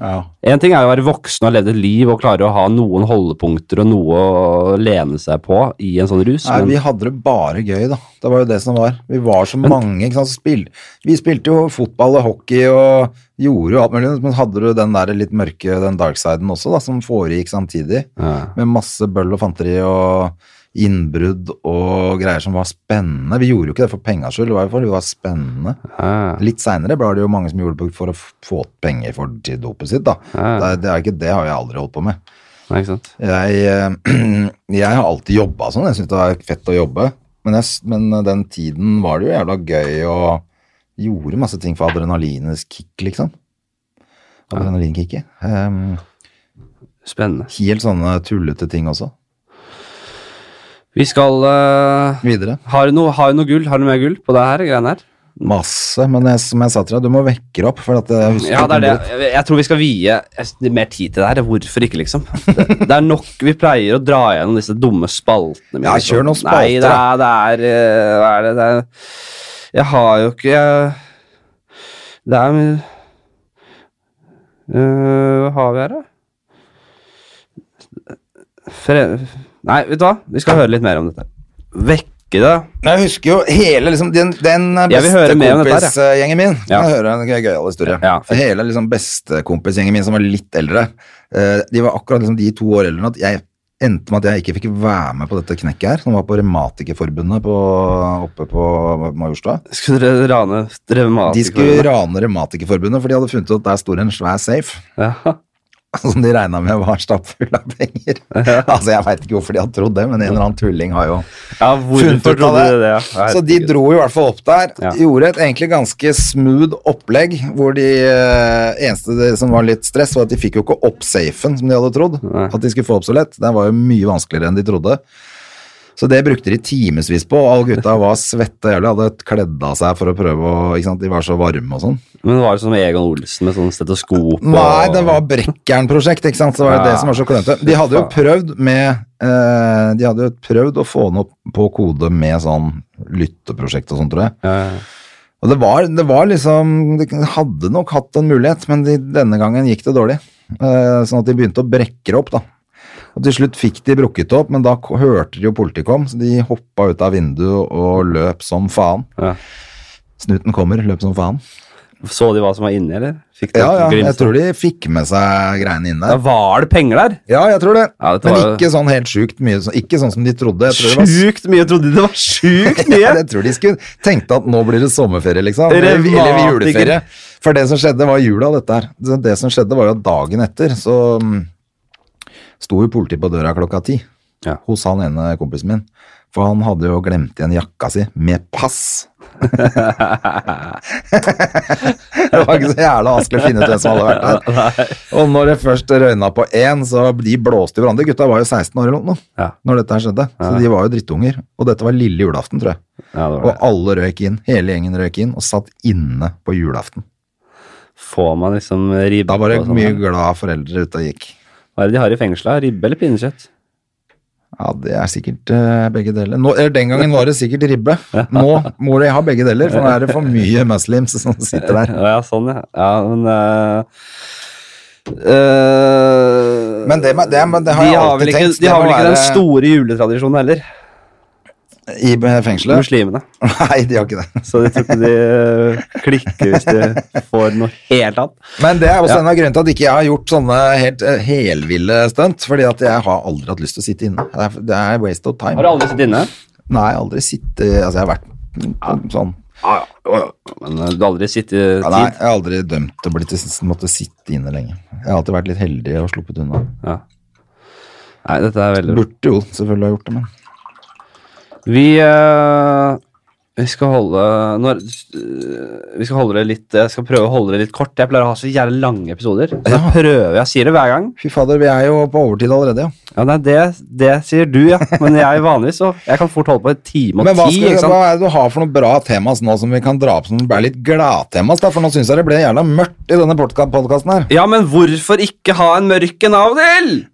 Speaker 2: Ja.
Speaker 1: En ting er jo å være voksen og ha levd et liv og klare å ha noen holdepunkter og noe å lene seg på i en sånn rus.
Speaker 2: Nei,
Speaker 1: men,
Speaker 2: vi hadde det bare gøy, da. Det var jo det som var. Vi var så mange. ikke sant? Så Spill. Vi spilte jo fotball og hockey og gjorde jo alt mulig, men hadde du den der litt mørke, den darksiden også, da, som foregikk samtidig.
Speaker 1: Ja.
Speaker 2: Med masse bøll og fanteri og innbrudd og greier som var spennende. Vi gjorde jo ikke det for pengas skyld, det var jo for det var spennende.
Speaker 1: Ja.
Speaker 2: Litt seinere ble det jo mange som gjorde det for å få penger for til dopet sitt, da. Det,
Speaker 1: Ja.
Speaker 2: er- det er ikke det har jeg aldri holdt på med.
Speaker 1: Nei, ikke sant?
Speaker 2: Jeg, eh, jeg har alltid jobba sånn. Jeg syns det var fett å jobbe. Men, jeg, s- men eh, den tiden var det jo jævla gøy og gjorde masse ting for adrenalinets kick, liksom. Adrenalinkicket. Um,
Speaker 1: Spennende.
Speaker 2: helt sånne tullete ting også.
Speaker 1: Vi skal eh,
Speaker 2: Videre.
Speaker 1: Har du noe, har du noe gull? Har du mer gull på det her greiene her?
Speaker 2: Masse. Men jeg, som jeg sa til deg, du må vekke det opp. For at jeg husker
Speaker 1: Ja, det er det.
Speaker 2: ikke
Speaker 1: Jeg, jeg tror vi skal vie eh, mer tid til det her. Hvorfor ikke, liksom? Det, det er nok Vi pleier å dra gjennom disse dumme spaltene mine. liksom.
Speaker 2: Ja, kjør noen spalter,
Speaker 1: Nei, det er, det er eh, Hva er det? det er, jeg har jo ikke jeg, Det er eh, Hva har vi her, da? Fre nei, vet du hva? Vi skal høre litt mer om dette. Vekke det.
Speaker 2: Jeg husker jo hele liksom, den, den
Speaker 1: Jeg vil høre
Speaker 2: beste
Speaker 1: mer om dette her,
Speaker 2: kompisgjengen min.
Speaker 1: Ja.
Speaker 2: Jeg hører en gøyal historie.
Speaker 1: Ja, fint.
Speaker 2: hele liksom, bestekompisgjengen min som var litt eldre, eh, de var akkurat liksom, de to år eldre enn at jeg endte med at jeg ikke fikk være med på dette knekket her, som var på Revmatikerforbundet på, oppe på Majorstua.
Speaker 1: Skulle dere rane revmatikerforbundet?
Speaker 2: De skulle rane Revmatikerforbundet, for de hadde funnet ut at der står en svær safe.
Speaker 1: ja.
Speaker 2: Som de regna med var stappfull av penger. altså, Jeg veit ikke hvorfor de hadde trodd det, men en eller annen tulling har jo
Speaker 1: ja,
Speaker 2: funnet
Speaker 1: hvorfor
Speaker 2: ut av
Speaker 1: trodde
Speaker 2: det.
Speaker 1: dere det? Ja,
Speaker 2: så de
Speaker 1: herregud.
Speaker 2: dro i hvert fall opp der.
Speaker 1: Ja.
Speaker 2: Gjorde et egentlig ganske smooth opplegg, hvor de eh, eneste det som var litt stress, var at de fikk jo ikke opp safen som de hadde trodd.
Speaker 1: Nei.
Speaker 2: At de skulle få opp så lett. Det var jo mye vanskeligere enn de trodde. Så det brukte de timevis på, og alle gutta var svette og jævlig, hadde kledd av seg for å prøve å ikke sant? De var så varme og sånn.
Speaker 1: Men var det som Egon Olsen med sånn stetoskop? og-
Speaker 2: Nei, det var Brekkjern-prosjekt, ikke sant? Så var det
Speaker 1: Ja.
Speaker 2: det som var så klønete. De hadde jo
Speaker 1: Faen.
Speaker 2: prøvd med eh, De hadde jo prøvd å få den opp på kode med sånn lytteprosjekt og sånn, tror jeg.
Speaker 1: Ja, ja, ja.
Speaker 2: Og det var, det var liksom De hadde nok hatt en mulighet, men de, denne gangen gikk det dårlig. Eh, sånn at de begynte å brekke det opp, da. Og til slutt fikk de brukket det opp, men da k- hørte de jo politiet kom, så de hoppa ut av vinduet og løp som faen.
Speaker 1: Ja.
Speaker 2: Snuten kommer, løp som faen.
Speaker 1: Så de hva som var inni, eller? Fikk de
Speaker 2: Ja, ja,
Speaker 1: et glimt?
Speaker 2: jeg tror de fikk med seg greiene inn
Speaker 1: Ja,
Speaker 2: der.
Speaker 1: var det penger der?
Speaker 2: Ja, jeg tror det.
Speaker 1: Ja, dette
Speaker 2: men
Speaker 1: var jo-
Speaker 2: ikke sånn helt sjukt mye. så- Ikke sånn som de trodde. Jeg tror det var
Speaker 1: Sjukt mye! Jeg trodde det var sjukt
Speaker 2: Ja,
Speaker 1: mye!
Speaker 2: jeg tror de skulle tenkte at nå blir det sommerferie, liksom.
Speaker 1: Dere
Speaker 2: Eller, eller
Speaker 1: var
Speaker 2: juleferie. For det som skjedde, var jula, dette her. Det, det som skjedde, var jo at dagen etter så mm, sto jo politiet på døra klokka ti
Speaker 1: Ja.
Speaker 2: hos han ene kompisen min. For han hadde jo glemt igjen jakka si med pass. det var ikke så jævla vanskelig å finne ut hvem som hadde vært der. Og når det først røyna på én, så de blåste jo hverandre. Gutta var jo 16 år eller noe
Speaker 1: Ja.
Speaker 2: når dette her skjedde. Så de var jo drittunger. Og dette var lille julaften, tror jeg.
Speaker 1: Ja, det var
Speaker 2: Og
Speaker 1: det.
Speaker 2: alle røyk inn, hele gjengen røyk inn og satt inne på julaften.
Speaker 1: Får man liksom ribbe
Speaker 2: Da var det
Speaker 1: og sånn
Speaker 2: mye
Speaker 1: her?
Speaker 2: glad foreldre ute og gikk.
Speaker 1: Hva er det de har i fengsla? Ribbe eller pinnekjøtt?
Speaker 2: Ja, det er sikkert eh, begge deler. Nå, eller den gangen var det sikkert ribbe. Nå må de ha begge deler, for nå er det for mye muslims som sitter der.
Speaker 1: Ja, sånn, ja. ja men eh, eh,
Speaker 2: Men det, med- det, men det har
Speaker 1: de
Speaker 2: jeg
Speaker 1: har
Speaker 2: alltid
Speaker 1: vel ikke,
Speaker 2: tenkt.
Speaker 1: de
Speaker 2: det
Speaker 1: har
Speaker 2: må
Speaker 1: vel ikke den
Speaker 2: være-
Speaker 1: store juletradisjonen heller,
Speaker 2: I be- fengselet?
Speaker 1: muslimene.
Speaker 2: Nei, de har ikke det.
Speaker 1: Så jeg tror ikke de eh, klikker hvis de får noe helt annet.
Speaker 2: Men det er også en av grunnene til at ikke jeg har gjort sånne helt eh, helville stunt. Fordi at jeg har aldri hatt lyst til å sitte inne. Det er, det er waste of time.
Speaker 1: Har du aldri sittet inne?
Speaker 2: Nei, aldri sitte Altså, jeg har vært på sånn
Speaker 1: Ja, ja. Men eh, du har aldri sittet
Speaker 2: ja, Nei, jeg har aldri dømt til å bli til måtte sitte inne lenge. Jeg har alltid vært litt heldig og sluppet unna.
Speaker 1: Ja. Nei, dette er veldig bra.
Speaker 2: Burde jo selvfølgelig ha gjort det, men
Speaker 1: Vi, eh, vi skal holde når, eh, Vi skal holde det litt Jeg skal prøve å holde det litt kort. Jeg pleier å ha så jævlig lange episoder. Så jeg
Speaker 2: Ja.
Speaker 1: prøver, jeg sier det hver gang.
Speaker 2: fy fader, vi er jo på overtid allerede, ja.
Speaker 1: Ja, nei, det, det sier du, ja. Men jeg vanligvis så Jeg kan fort holde på en time og
Speaker 2: Men hva,
Speaker 1: ti.
Speaker 2: skal,
Speaker 1: ikke sant?
Speaker 2: hva er det du har for noen bra temas nå som vi kan dra opp som blir litt gladtemas? da? For nå syns jeg det ble jævla mørkt i denne podkasten her.
Speaker 1: Ja, men hvorfor ikke ha en mørk en av og til?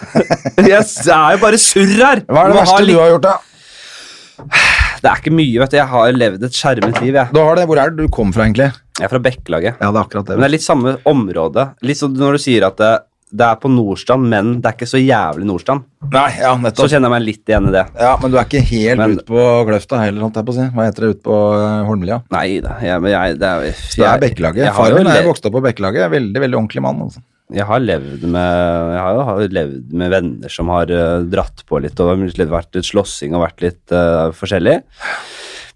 Speaker 1: Jeg s- det er jo bare surr her.
Speaker 2: Hva er det
Speaker 1: Du må ha
Speaker 2: verste
Speaker 1: litt-
Speaker 2: du har gjort, da?
Speaker 1: Det er ikke mye, vet du. Jeg har levd et skjermet liv, jeg.
Speaker 2: Du har det. Hvor er det du kom fra, egentlig?
Speaker 1: Jeg er fra Bekkelaget.
Speaker 2: Ja, det er akkurat
Speaker 1: Men det er litt samme område. Litt sånn når du sier at det, det er på Nordstrand, men det er ikke så jævlig Nordstrand.
Speaker 2: Nei, ja,
Speaker 1: Så
Speaker 2: nettopp.
Speaker 1: kjenner jeg meg litt igjen i det.
Speaker 2: Ja, Men du er ikke helt
Speaker 1: Men-
Speaker 2: ute på Kløfta heller, holdt jeg på å si. Hva heter det ute på eh, Holmlia?
Speaker 1: Nei da. Jeg, men jeg, det er, jeg,
Speaker 2: Det er Bekkelaget.
Speaker 1: jeg har jo
Speaker 2: Faren min er
Speaker 1: le-
Speaker 2: jo vokst opp på Bekkelaget. Veldig, veldig ordentlig mann. Altså.
Speaker 1: Jeg har levd med Jeg har jo har levd med venner som har eh, dratt på litt og det har litt- vært litt slåssing og vært litt eh, forskjellig.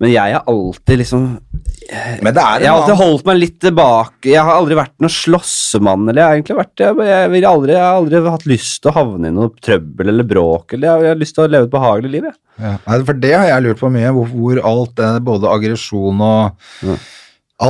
Speaker 1: Men jeg har alltid liksom
Speaker 2: Men det er
Speaker 1: Jeg har
Speaker 2: en
Speaker 1: alltid
Speaker 2: annen
Speaker 1: holdt meg litt tilbake. Jeg har aldri vært noen slåssemann. Eller jeg har egentlig vært Jeg, jeg, vil aldri, jeg har aldri hatt lyst til å havne i noe trøbbel eller bråk. Eller jeg, jeg har lyst til å leve et behagelig liv, jeg.
Speaker 2: ja. Nei, For det har jeg lurt på mye, hvor, hvor alt det både aggresjon og
Speaker 1: Mm.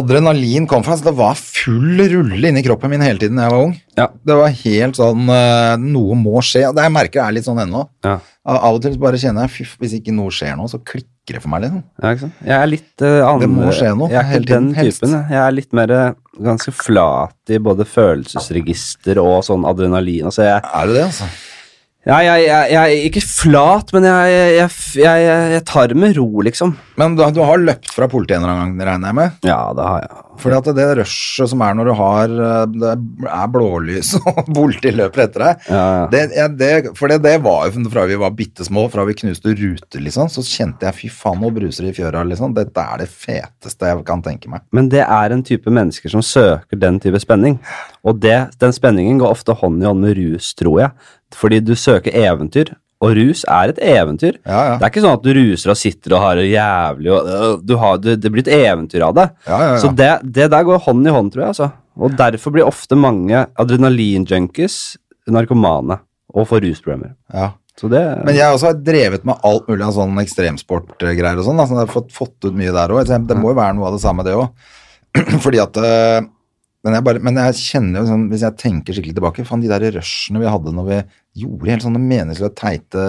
Speaker 2: adrenalin kom fra. Så det var full rulle inni kroppen min hele tiden da jeg var ung.
Speaker 1: Ja.
Speaker 2: Det var helt sånn eh, Noe må skje. og Det jeg merker er litt sånn ennå.
Speaker 1: Ja.
Speaker 2: Av av og til bare kjenner jeg fy, hvis ikke noe skjer nå, så klikker det for meg, liksom.
Speaker 1: Ja, ikke sant? Jeg er litt uh,
Speaker 2: Det må skje noe,
Speaker 1: Jeg er
Speaker 2: hele
Speaker 1: ikke den
Speaker 2: tiden, helst.
Speaker 1: typen. jeg. Jeg er litt mer eh, ganske flat i både følelsesregister og sånn adrenalin. Altså, jeg,
Speaker 2: Er det det, altså?
Speaker 1: Ja, jeg, jeg, jeg er ikke flat, men jeg, jeg, jeg, jeg, jeg tar det med ro, liksom.
Speaker 2: Men du, du har løpt fra politiet en eller annen gang, regner jeg med?
Speaker 1: Ja, det har jeg.
Speaker 2: Fordi at det rushet som er når du har eh, Det er blålys og politi løper etter deg.
Speaker 1: Ja, ja.
Speaker 2: Det, ja, det, for det, det var jo fra vi var bitte små, fra vi knuste ruter, liksom, så kjente jeg fy faen, nå bruser det i fjøra, liksom. Dette er det feteste jeg kan tenke meg.
Speaker 1: Men det er en type mennesker som søker den type spenning. Og det, den spenningen går ofte hånd i hånd med rus, tror jeg. Fordi du søker eventyr, og rus er et eventyr.
Speaker 2: Ja, ja.
Speaker 1: Det er ikke sånn at du ruser og sitter og har det jævlig og, øh, du har, du, Det blir et eventyr av det.
Speaker 2: Ja, ja, ja.
Speaker 1: Så det, det der går hånd i hånd, tror jeg. Altså. Og derfor blir ofte mange adrenalinjunkies narkomane og får rusproblemer.
Speaker 2: Ja.
Speaker 1: Så det
Speaker 2: Men jeg også har drevet med alt mulig av sånn ekstremsportgreier og sånn. da, så jeg har fått, fått ut mye der òg. Det må jo være noe av det samme, det òg. Fordi at eh, men jeg, bare, men jeg kjenner jo sånn, hvis jeg tenker skikkelig tilbake, faen, de der rushene vi hadde når vi gjorde helt sånne meningsløse, teite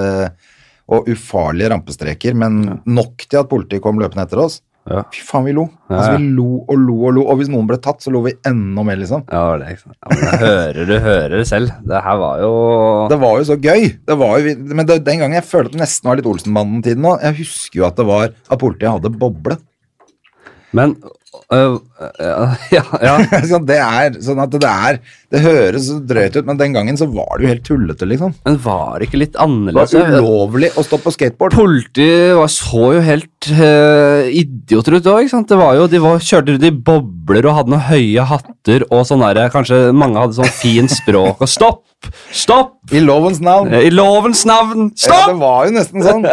Speaker 2: og ufarlige rampestreker, men nok til at politiet kom løpende etter oss.
Speaker 1: Ja.
Speaker 2: Fy faen, vi lo.
Speaker 1: Ja,
Speaker 2: Altså,
Speaker 1: ja.
Speaker 2: vi lo og lo og lo, og hvis noen ble tatt, så lo vi enda mer, liksom.
Speaker 1: Ja, det var det, ikke sant? Ja, men jeg hører du hører det selv. Det her var jo
Speaker 2: Det var jo så gøy. Det var jo, men det, den gangen jeg følte at det nesten var litt Olsenbanden-tiden nå. Jeg husker jo at det var at politiet hadde boble.
Speaker 1: Men øh, øh, ja, ja.
Speaker 2: Sånn, det er sånn at det er Det høres så drøyt ut, men den gangen så var det jo helt tullete, liksom.
Speaker 1: Men var det ikke litt
Speaker 2: Det
Speaker 1: annerledes?
Speaker 2: var ulovlig å stå på skateboard.
Speaker 1: Politiet var, så jo helt eh, idioter ut òg, ikke sant. Det var jo, de var, kjørte rundt i bobler og hadde noen høye hatter og sånn derre Kanskje mange hadde sånn fin språk og Stopp! Stopp!
Speaker 2: I lovens navn.
Speaker 1: I lovens navn!
Speaker 2: Ja, det
Speaker 1: Stopp!
Speaker 2: var jo nesten sånn.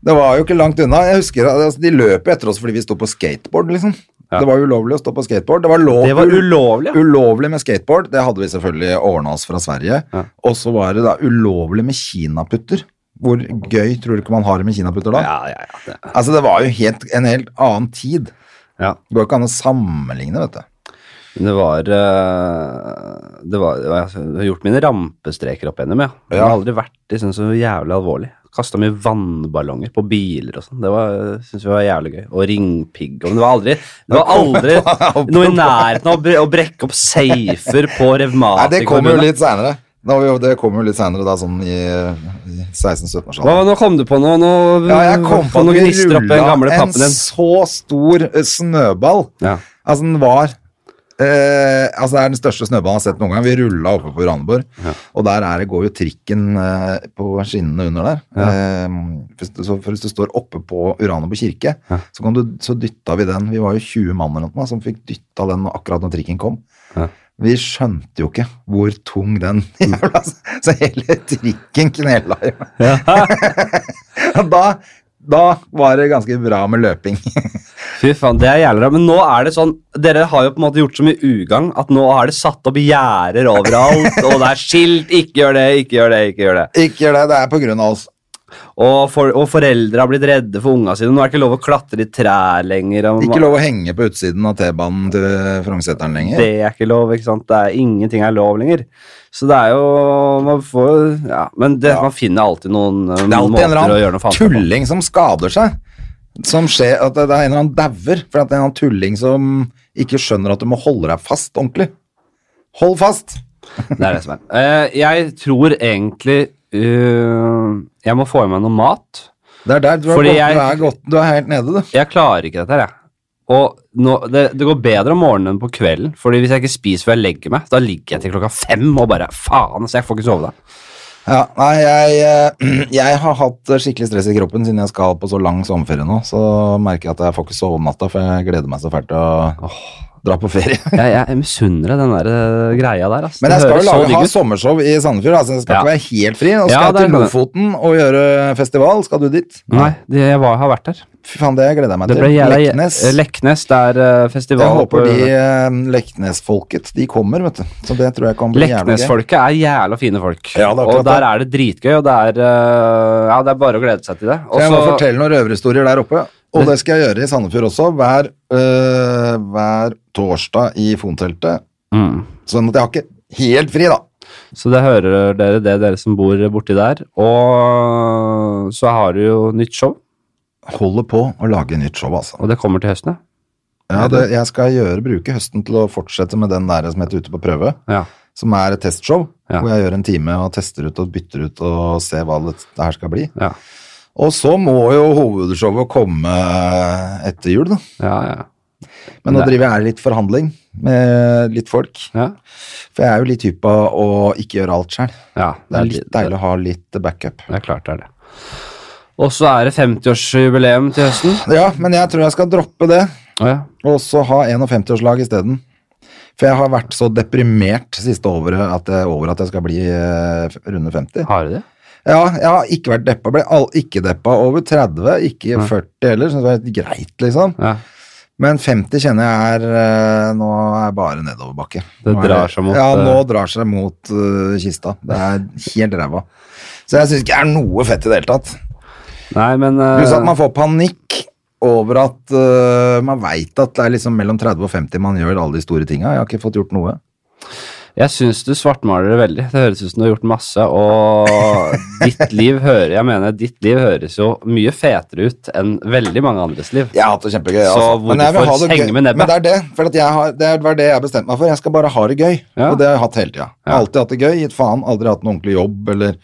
Speaker 2: Det var jo ikke langt unna. Jeg husker at altså, De løp jo etter oss fordi vi sto på skateboard, liksom. Det var jo ulovlig å stå på skateboard. Det var, lov,
Speaker 1: Det var ulovlig. ja.
Speaker 2: ulovlig med skateboard. Det hadde vi selvfølgelig ordna oss fra Sverige.
Speaker 1: Ja.
Speaker 2: Og så var det da ulovlig med kinaputter. Hvor gøy tror du ikke man har det med kinaputter da?
Speaker 1: Ja, ja, ja. det-
Speaker 2: Altså, det var jo helt, en helt annen tid.
Speaker 1: ja.
Speaker 2: Det går ikke an å sammenligne, vet du.
Speaker 1: Men det var, altså, eh, det var, det var Jeg har gjort mine rampestreker opp gjennom, ja. Men Det har aldri vært liksom, så jævlig alvorlig. Kasta mye vannballonger på biler og sånn. Det var- synes vi var jævlig gøy. Og ringpigg. og- Men det var aldri, det var aldri noe i nærheten av å bre- å brekke opp safer på
Speaker 2: Nei,
Speaker 1: revmatikerne.
Speaker 2: det kommer jo litt seinere. Det kommer jo litt seinere, da sånn i, i 16-17-årsalderen.
Speaker 1: Hva, nå kom du på noe. Nå,
Speaker 2: Ja, jeg kom på
Speaker 1: få noen
Speaker 2: at vi
Speaker 1: gnister opp i den gamle
Speaker 2: rullet
Speaker 1: pappen din.
Speaker 2: en så stor eh, snøball.
Speaker 1: Ja.
Speaker 2: Altså, den var eh, Altså, det er den største snøballen jeg har sett noen gang. Vi rulla oppe på Randeborg, og der er det, går jo trikken eh, på skinnene under der. Eh, hvis, du, så, for hvis du står oppe på Uraneborg kirke, så, kan du, så dytta vi den. Vi var jo 20 mann eller noe som fikk dytta den akkurat når trikken kom.
Speaker 1: Ja.
Speaker 2: Vi skjønte jo ikke hvor tung den jævla Så hele trikken knela jo. da, da var det ganske bra med løping.
Speaker 1: Fy faen, det er jævlig bra. Men nå er det sånn Dere har jo på en måte gjort så mye ugagn at nå er det satt opp gjerder overalt, og det er skilt 'ikke gjør det, ikke gjør det', ikke gjør det.
Speaker 2: Ikke gjør det, det er på grunn av oss.
Speaker 1: Og, for, og foreldre har blitt redde for unga sine. Nå er det ikke lov å klatre i trær lenger. Og,
Speaker 2: Ikke lov å henge på utsiden av T-banen til Frognerseteren lenger.
Speaker 1: Det er ikke lov, ikke sant. Det er, ingenting er lov lenger. Så det er jo Man får Ja, men det, man finner alltid noen eh,
Speaker 2: Det er alltid en
Speaker 1: måter å
Speaker 2: eller
Speaker 1: gjøre noe
Speaker 2: annen
Speaker 1: faenskap på.
Speaker 2: tulling som skader seg. Som skjer, at det er en eller annen dauer, for at det er en eller annen tulling som ikke skjønner at du må holde deg fast ordentlig. Hold fast!
Speaker 1: Det er det som er. Eh, jeg tror egentlig eh, Jeg må få i meg noe mat.
Speaker 2: Det er der du er,
Speaker 1: Fordi
Speaker 2: godt,
Speaker 1: jeg-
Speaker 2: du, er godt, du er helt nede, du.
Speaker 1: Jeg klarer ikke dette her, jeg. Og nå, det, det går bedre om morgenen enn på kvelden. Fordi hvis jeg ikke spiser før jeg legger meg, da ligger jeg til klokka fem og bare Faen, altså, jeg får ikke sove da.
Speaker 2: Ja, nei, jeg, eh, jeg har hatt skikkelig stress i kroppen siden jeg skal på så lang sommerferie nå. Så merker jeg at jeg får ikke sove om natta, for jeg gleder meg så fælt til å dra på ferie.
Speaker 1: Jeg, jeg misunner deg den der eh, greia der, altså.
Speaker 2: Men jeg
Speaker 1: Det
Speaker 2: skal jo
Speaker 1: høres så
Speaker 2: lage, ha
Speaker 1: digg ut.
Speaker 2: sommershow i Sandefjord. Altså jeg skal
Speaker 1: Ja.
Speaker 2: ikke være helt fri. Nå
Speaker 1: Ja,
Speaker 2: skal jeg
Speaker 1: det
Speaker 2: til
Speaker 1: kan du.
Speaker 2: Lofoten og gjøre festival. Skal du dit?
Speaker 1: Nei, det, jeg var, har vært der.
Speaker 2: Fy faen, det gleder jeg meg
Speaker 1: Det
Speaker 2: til.
Speaker 1: ble jævla-
Speaker 2: Leknes.
Speaker 1: eh, Leknes, det er eh,
Speaker 2: Jeg
Speaker 1: festival
Speaker 2: håper
Speaker 1: på-
Speaker 2: de eh, Leknes-folket de kommer, vet du. Så det tror jeg kan bli jævlig gøy.
Speaker 1: Leknesfolket er jævla fine folk.
Speaker 2: Ja, det er akkurat
Speaker 1: og der er det dritgøy, og det er, eh, ja, det er bare å glede seg til det. Og
Speaker 2: Jeg må
Speaker 1: så-
Speaker 2: fortelle noen røverhistorier der oppe. Og det skal jeg gjøre i Sandefjord også. Hver, eh, hver torsdag i Fonteltet.
Speaker 1: Mm.
Speaker 2: Sånn at jeg har ikke helt fri, da.
Speaker 1: Så det hører dere det, dere som bor borti der. Og så har du jo nytt show,
Speaker 2: Holder på å lage nytt show, altså.
Speaker 1: og det kommer til høsten.
Speaker 2: Ja, det, jeg skal gjøre, bruke høsten til å fortsette med den der som heter Ute på prøve.
Speaker 1: Ja.
Speaker 2: som er et testshow,
Speaker 1: Ja.
Speaker 2: hvor jeg gjør en time og tester ut og bytter ut og ser hva det det her skal bli.
Speaker 1: Ja.
Speaker 2: Og så må jo hovedshowet komme etter jul, da.
Speaker 1: Ja, ja.
Speaker 2: Men nå
Speaker 1: Nei.
Speaker 2: driver jeg litt forhandling med litt folk.
Speaker 1: ja.
Speaker 2: For jeg er jo litt hypp av å ikke gjøre alt sjøl.
Speaker 1: ja
Speaker 2: Det er litt deilig å ha litt backup.
Speaker 1: Det er klart det er det. Og så er det 50-årsjubileum til høsten.
Speaker 2: Ja, men jeg tror jeg skal droppe det,
Speaker 1: Å ja.
Speaker 2: og så ha 51-årslag isteden. For jeg har vært så deprimert siste året at jeg, over at jeg skal bli eh, f- runde 50.
Speaker 1: Har du det?
Speaker 2: Ja, jeg har ikke vært deppa. Ble all, ikke deppa over 30, ikke 40 heller. Syns det var helt greit, liksom.
Speaker 1: Ja.
Speaker 2: Men 50 kjenner jeg er eh, Nå er bare nedoverbakke.
Speaker 1: Det
Speaker 2: Nå er
Speaker 1: drar seg mot,
Speaker 2: Ja,
Speaker 1: eh,
Speaker 2: nå drar seg mot eh, kista. Det er helt ræva. Så jeg syns ikke det er noe fett i det hele tatt.
Speaker 1: Nei, men eh,
Speaker 2: Pluss at man får panikk over at eh, man veit at det er liksom mellom 30 og 50 man gjør alle de store tinga. Jeg har ikke fått gjort noe.
Speaker 1: jeg syns du svartmaler det veldig. Det høres ut som du har gjort masse, og ditt liv hører Jeg mener, ditt liv høres jo mye fetere ut enn veldig mange andres liv.
Speaker 2: Jeg har hatt det kjempegøy.
Speaker 1: Så
Speaker 2: altså. jeg vil
Speaker 1: hvorfor
Speaker 2: ha det
Speaker 1: henge
Speaker 2: gøy.
Speaker 1: med nebbet?
Speaker 2: Men det er det, for at jeg har, det er- var det jeg bestemte meg for. Jeg skal bare ha det gøy,
Speaker 1: Ja.
Speaker 2: og det har jeg hatt hele tida.
Speaker 1: Ja.
Speaker 2: Alltid hatt det gøy, gitt faen, aldri hatt noen ordentlig jobb, eller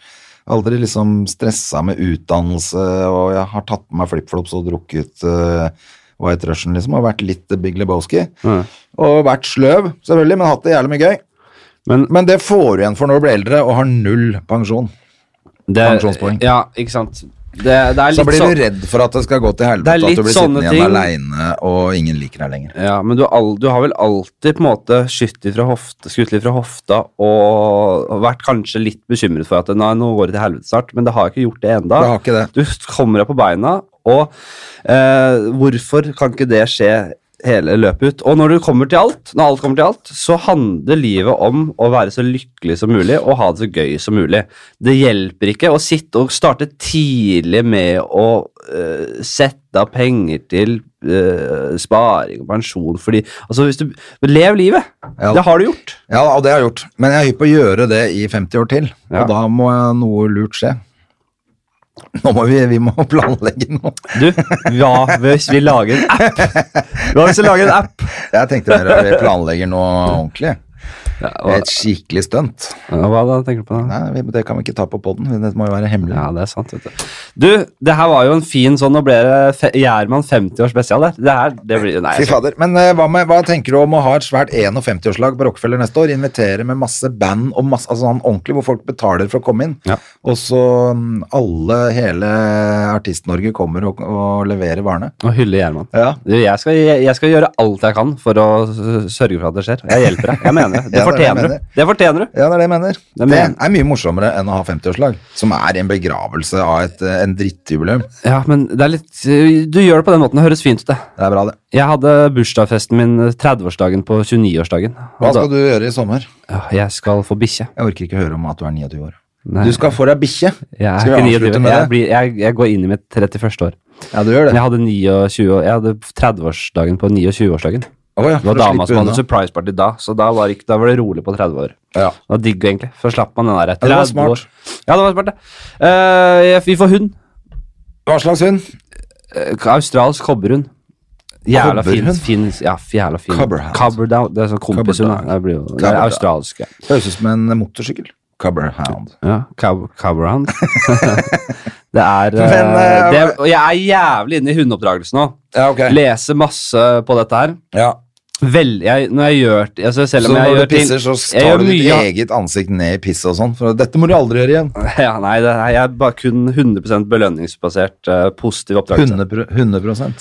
Speaker 2: aldri liksom stressa med utdannelse, og jeg har tatt med meg flipflops og drukket eh, White Russian, liksom, og vært litt eh, Big Lebowski.
Speaker 1: Mm.
Speaker 2: Og vært sløv, selvfølgelig, men hatt det jævlig mye gøy.
Speaker 1: Men
Speaker 2: Men det får du igjen for når du blir eldre og har null pensjon.
Speaker 1: det,
Speaker 2: Pensjonspoeng.
Speaker 1: Ja, ikke sant. Det, det er litt
Speaker 2: Så blir
Speaker 1: sånn-
Speaker 2: du redd for at det skal gå til helvete,
Speaker 1: Det er
Speaker 2: at
Speaker 1: litt
Speaker 2: du blir
Speaker 1: sånne
Speaker 2: sittende
Speaker 1: ting.
Speaker 2: igjen aleine og ingen liker deg lenger.
Speaker 1: Ja, men du, har al- du har vel alltid på en måte skutt litt fra hofta, skutt litt fra hofta og og vært kanskje litt bekymret for at nei, nå går det til helvete snart, men det har ikke gjort det enda.
Speaker 2: Du har ikke det.
Speaker 1: Du kommer deg på beina, og eh, hvorfor kan ikke det skje hele løpet ut? Og når du kommer til alt, når alt kommer til alt, så handler livet om å være så lykkelig som mulig og ha det så gøy som mulig. Det hjelper ikke å sitte og starte tidlig med å eh, sette av penger til eh, sparing og pensjon, fordi altså hvis du Lev livet!
Speaker 2: Ja.
Speaker 1: Det har du gjort.
Speaker 2: Ja, og det har jeg gjort. Men jeg er hypp på å gjøre det i 50 år til.
Speaker 1: Ja.
Speaker 2: Og da må jeg- noe lurt skje. Nå må vi, vi må planlegge noe.
Speaker 1: Du, hva hvis vi lager en app? Hva hvis vi lager en app?
Speaker 2: Jeg tenkte mer at vi planlegger noe ordentlig.
Speaker 1: Ja, hva,
Speaker 2: Et skikkelig stunt.
Speaker 1: ja, hva da, tenker du på da?
Speaker 2: Nei, vi- det kan vi ikke ta på poden. Det må jo være hemmelig.
Speaker 1: Ja, det er sant, vet du. Du, det her var jo en fin sånn, nå ble det fe- Gjerman 50 års spesial der. Det her, det blir, nei,
Speaker 2: Fy fader. Men eh, hva, med, hva tenker du om å ha et svært 51-årslag på Rockefeller neste år? Invitere med masse band og masse altså sånn ordentlig, hvor folk betaler for å komme inn.
Speaker 1: Ja.
Speaker 2: Og så mm, alle, hele Artist-Norge kommer og, og leverer varene.
Speaker 1: Å hylle Gjerman.
Speaker 2: Ja.
Speaker 1: Du, jeg skal, jeg, jeg skal gjøre alt jeg kan for å s- sørge for at det skjer. Jeg hjelper deg. Jeg mener det. Det
Speaker 2: Ja, det er det jeg
Speaker 1: fortjener
Speaker 2: mener.
Speaker 1: du. Det fortjener du.
Speaker 2: Ja, det er det jeg mener.
Speaker 1: er
Speaker 2: Det
Speaker 1: men-
Speaker 2: er mye morsommere enn å ha 50-årslag, som er en begravelse av et, eh, en drittjubileum.
Speaker 1: Ja, men det er litt eh, Du gjør det på den måten. Det høres fint ut, det.
Speaker 2: Det er bra, det.
Speaker 1: Jeg hadde bursdagsfesten min eh, 30-årsdagen på 29-årsdagen.
Speaker 2: Hva skal du gjøre i sommer?
Speaker 1: Ja, jeg skal få bikkje.
Speaker 2: Jeg orker ikke høre om at du er 29 år.
Speaker 1: Nei.
Speaker 2: Du skal få deg bikkje.
Speaker 1: Jeg er
Speaker 2: Skal
Speaker 1: ikke
Speaker 2: vi
Speaker 1: 29.
Speaker 2: avslutte med
Speaker 1: Jeg,
Speaker 2: det?
Speaker 1: blir, jeg, jeg går inn i mitt 31. år.
Speaker 2: Ja, du gjør
Speaker 1: Men
Speaker 2: det.
Speaker 1: jeg hadde 29 år- Jeg hadde 30-årsdagen på 29-årsdagen.
Speaker 2: Å ja,
Speaker 1: Det var
Speaker 2: for å
Speaker 1: dama
Speaker 2: slippe
Speaker 1: som
Speaker 2: unna.
Speaker 1: hadde surprise party da, så da var, ikke, da var det rolig på 30 år.
Speaker 2: Ja.
Speaker 1: Det var digg, egentlig. For da slapp man den der
Speaker 2: det
Speaker 1: 30
Speaker 2: var smart.
Speaker 1: år. Ja, det var smart, det. Eh, jeg- vi får hund.
Speaker 2: Hva slags hund?
Speaker 1: Eh, australsk kobberhund. Jævla fin,
Speaker 2: Kobberhund?
Speaker 1: fin Ja, jævla fin.
Speaker 2: Cobberhound.
Speaker 1: Cobberdown. Det er sånn kompishund. da.
Speaker 2: Cobberdown.
Speaker 1: Det blir jo- det er
Speaker 2: Cobberdown.
Speaker 1: australsk. Ja.
Speaker 2: Høres ut som en motorsykkel. Cubberhound.
Speaker 1: Ja, cow- Cobberhound. det er eh,
Speaker 2: Men, eh,
Speaker 1: det, Og jeg er jævlig inne i hundeoppdragelse nå.
Speaker 2: Ja, ok.
Speaker 1: Leser masse på dette her.
Speaker 2: Ja.
Speaker 1: Vel, jeg, når jeg gjør altså Selv
Speaker 2: Så
Speaker 1: om jeg
Speaker 2: når
Speaker 1: gjør
Speaker 2: du pisser, så
Speaker 1: jeg
Speaker 2: tar
Speaker 1: gjør
Speaker 2: du ditt
Speaker 1: mye-
Speaker 2: eget ansikt ned i pisset og sånn. For dette må du aldri gjøre igjen.
Speaker 1: Ja, nei, det er, jeg er bare kun 100 belønningsbasert eh, positiv oppdragelse.
Speaker 2: 100, 100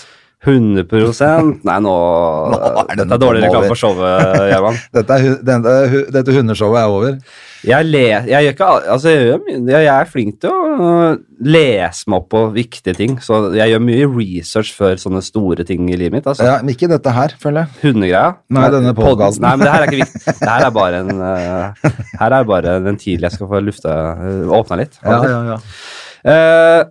Speaker 1: 100 Nei, nå,
Speaker 2: Nå er den
Speaker 1: Dette er dårlig
Speaker 2: tom
Speaker 1: reklame
Speaker 2: over.
Speaker 1: for showet, Gjerman.
Speaker 2: Dette, er, hu- denne, hu- dette hundeshowet er over.
Speaker 1: Jeg, le, jeg, gjør ikke, al- altså, jeg, gjør mye- jeg er flink til å øh, lese meg opp på viktige ting, så jeg gjør mye research før sånne store ting i livet mitt. Altså.
Speaker 2: Ja, men ikke dette her, føler jeg.
Speaker 1: Hundegreia.
Speaker 2: Nei, denne
Speaker 1: pod-
Speaker 2: podcasten.
Speaker 1: Nei, men det her er ikke viktig. Det her er bare en, øh, her er bare en ventil jeg skal få lufta øh, Åpna litt. Eh,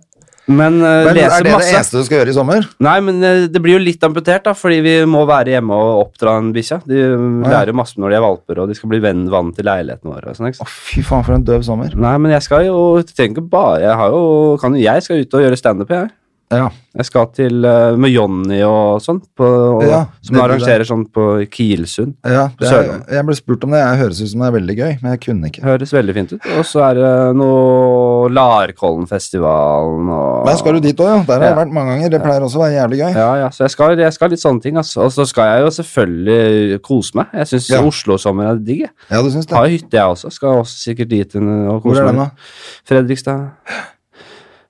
Speaker 1: men øh,
Speaker 2: Men
Speaker 1: leser
Speaker 2: er det
Speaker 1: masse.
Speaker 2: det Eh, eneste du skal gjøre i sommer?
Speaker 1: Nei, men eh, det blir jo litt amputert, da, fordi vi må være hjemme og oppdra en bikkje. De eh,
Speaker 2: ja.
Speaker 1: lærer masse når de er valper, og de skal bli venn vann til leiligheten vår. og sånn, ikke
Speaker 2: Å,
Speaker 1: sant?
Speaker 2: fy faen, for en døv sommer.
Speaker 1: Nei, men jeg skal jo jeg trenger ikke bare Jeg, har jo, kan, jo- jeg skal ut og gjøre standup, jeg.
Speaker 2: Ja.
Speaker 1: Jeg skal til eh, med Jonny og sånn, på, og,
Speaker 2: Ja,
Speaker 1: som
Speaker 2: det blir
Speaker 1: arrangerer sånn på Kilsund.
Speaker 2: ja det er,
Speaker 1: Sørlandet.
Speaker 2: jeg ble spurt om det. Jeg høres ut som det er veldig gøy, men jeg kunne ikke.
Speaker 1: Høres veldig fint ut. Og så er det noe Larkollenfestivalen og
Speaker 2: Men skal du dit òg, Ah. ja. Der har jeg
Speaker 1: Ja.
Speaker 2: vært mange ganger. Det pleier også å være jævlig gøy.
Speaker 1: Ja, ja, så jeg skal, jeg skal litt sånne ting, altså. Og så skal jeg jo selvfølgelig kose meg. Jeg syns
Speaker 2: Ja.
Speaker 1: Oslo-sommeren er digg, jeg.
Speaker 2: Ja, du syns det?
Speaker 1: Har hytte, jeg også. Skal også sikkert dit inn og
Speaker 2: Hvor
Speaker 1: kose
Speaker 2: er den,
Speaker 1: meg.
Speaker 2: da?
Speaker 1: Fredrikstad.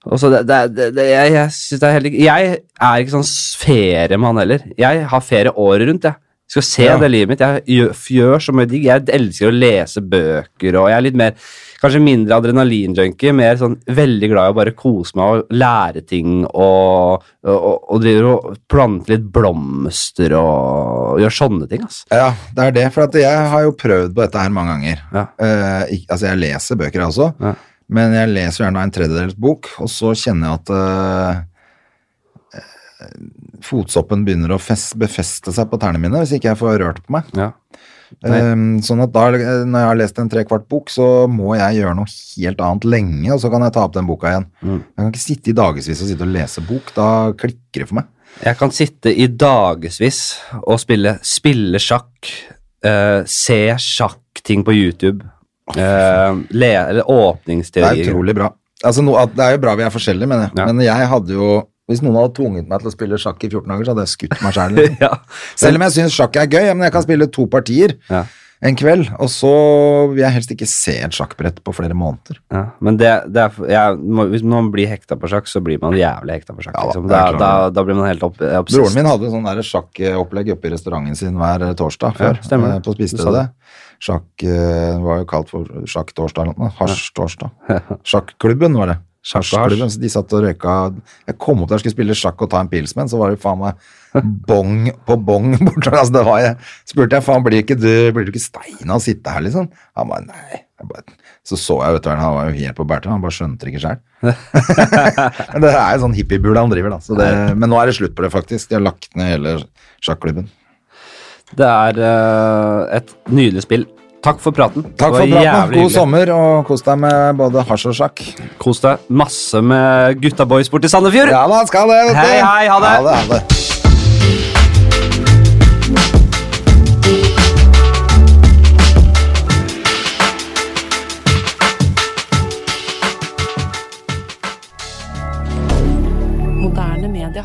Speaker 1: Og så det, det, det, det, jeg, jeg synes det er helt ikke Jeg er ikke sånn feriemann heller. Jeg har ferie året rundt, jeg. Skal se
Speaker 2: Ja.
Speaker 1: det livet mitt. Jeg gjør, gjør så mye digg. Jeg elsker å lese bøker, og jeg er litt mer Kanskje mindre adrenalinjunkie, mer sånn veldig glad i å bare kose meg og lære ting og, og, og driver og planter litt blomster og, og gjør sånne ting, altså.
Speaker 2: Ja, det er det. For at jeg har jo prøvd på dette her mange ganger.
Speaker 1: Ja.
Speaker 2: Eh, ikk- altså, jeg leser bøker, jeg også.
Speaker 1: Ja.
Speaker 2: Men jeg leser gjerne en tredjedels bok, og så kjenner jeg at eh, eh, fotsoppen begynner å fest, befeste seg på tærne mine hvis ikke jeg får rørt på meg.
Speaker 1: Ja. Nei.
Speaker 2: Um, sånn at da, eh, når jeg har lest en trekvart bok, så må jeg gjøre noe helt annet lenge, og så kan jeg ta opp den boka igjen.
Speaker 1: Mm.
Speaker 2: Jeg kan ikke sitte i dagevis og sitte og lese bok. Da klikker det for meg.
Speaker 1: Jeg kan sitte i dagevis og spille, spille sjakk, eh, se sjakkting på YouTube, eh, le, eller
Speaker 2: Det er
Speaker 1: åpningsteorier.
Speaker 2: utrolig bra. Altså, no, at, det er jo bra vi er forskjellige, men,
Speaker 1: Ja.
Speaker 2: men jeg hadde jo Hvis noen hadde tvunget meg til å spille sjakk i 14 dager, så hadde jeg skutt meg sjæl.
Speaker 1: ja.
Speaker 2: Selv om jeg syns sjakk er gøy, men jeg kan spille to partier
Speaker 1: Ja.
Speaker 2: en kveld, og så vil jeg helst ikke se et sjakkbrett på flere måneder.
Speaker 1: Ja, men det, det er, jeg, må- hvis man blir hekta på sjakk, så blir man jævlig hekta på sjakk.
Speaker 2: Ja da,
Speaker 1: liksom.
Speaker 2: det er
Speaker 1: da,
Speaker 2: klart.
Speaker 1: da, da blir man helt opp, eh, obsessed.
Speaker 2: Broren min hadde sånn der sjakkopplegg oppe i restauranten sin hver eh, torsdag
Speaker 1: Ja,
Speaker 2: før,
Speaker 1: stemmer det.
Speaker 2: eh,
Speaker 1: Du
Speaker 2: på
Speaker 1: sa
Speaker 2: spisestedet.
Speaker 1: det.
Speaker 2: Sjakk eh, var jo kalt for sjakk-torsdag eller noe. Hasj-torsdag. Sjakklubben var det.
Speaker 1: Sjakk og hasj.
Speaker 2: Hasjklubben, så de satt og røyka Jeg kom opp der og skulle spille sjakk og ta en pils med en, så var det faen meg bong på bong borte. Altså, det var jeg spurte jeg faen, blir ikke du, blir du ikke stein av å sitte her, liksom? Han bare nei. Jeg bare, så så jeg utover, han var jo helt på bærtur, han bare skjønte det ikke sjøl. Men det er jo sånn hippiebule han driver, da. Så det, men nå er det slutt på det, faktisk. De har lagt ned hele sjakklubben.
Speaker 1: Det er eh, et nydelig spill. Takk for praten.
Speaker 2: Takk for
Speaker 1: Det var
Speaker 2: praten.
Speaker 1: jævlig
Speaker 2: God
Speaker 1: hyggelig.
Speaker 2: sommer, og kos deg med både hasj og sjakk.
Speaker 1: Kos deg masse med gutta boys borti Sandefjord.
Speaker 2: Ja da, skal det, vet du.
Speaker 1: Hei, hei, ha det.
Speaker 2: Ha det, ha det.
Speaker 3: Moderne media.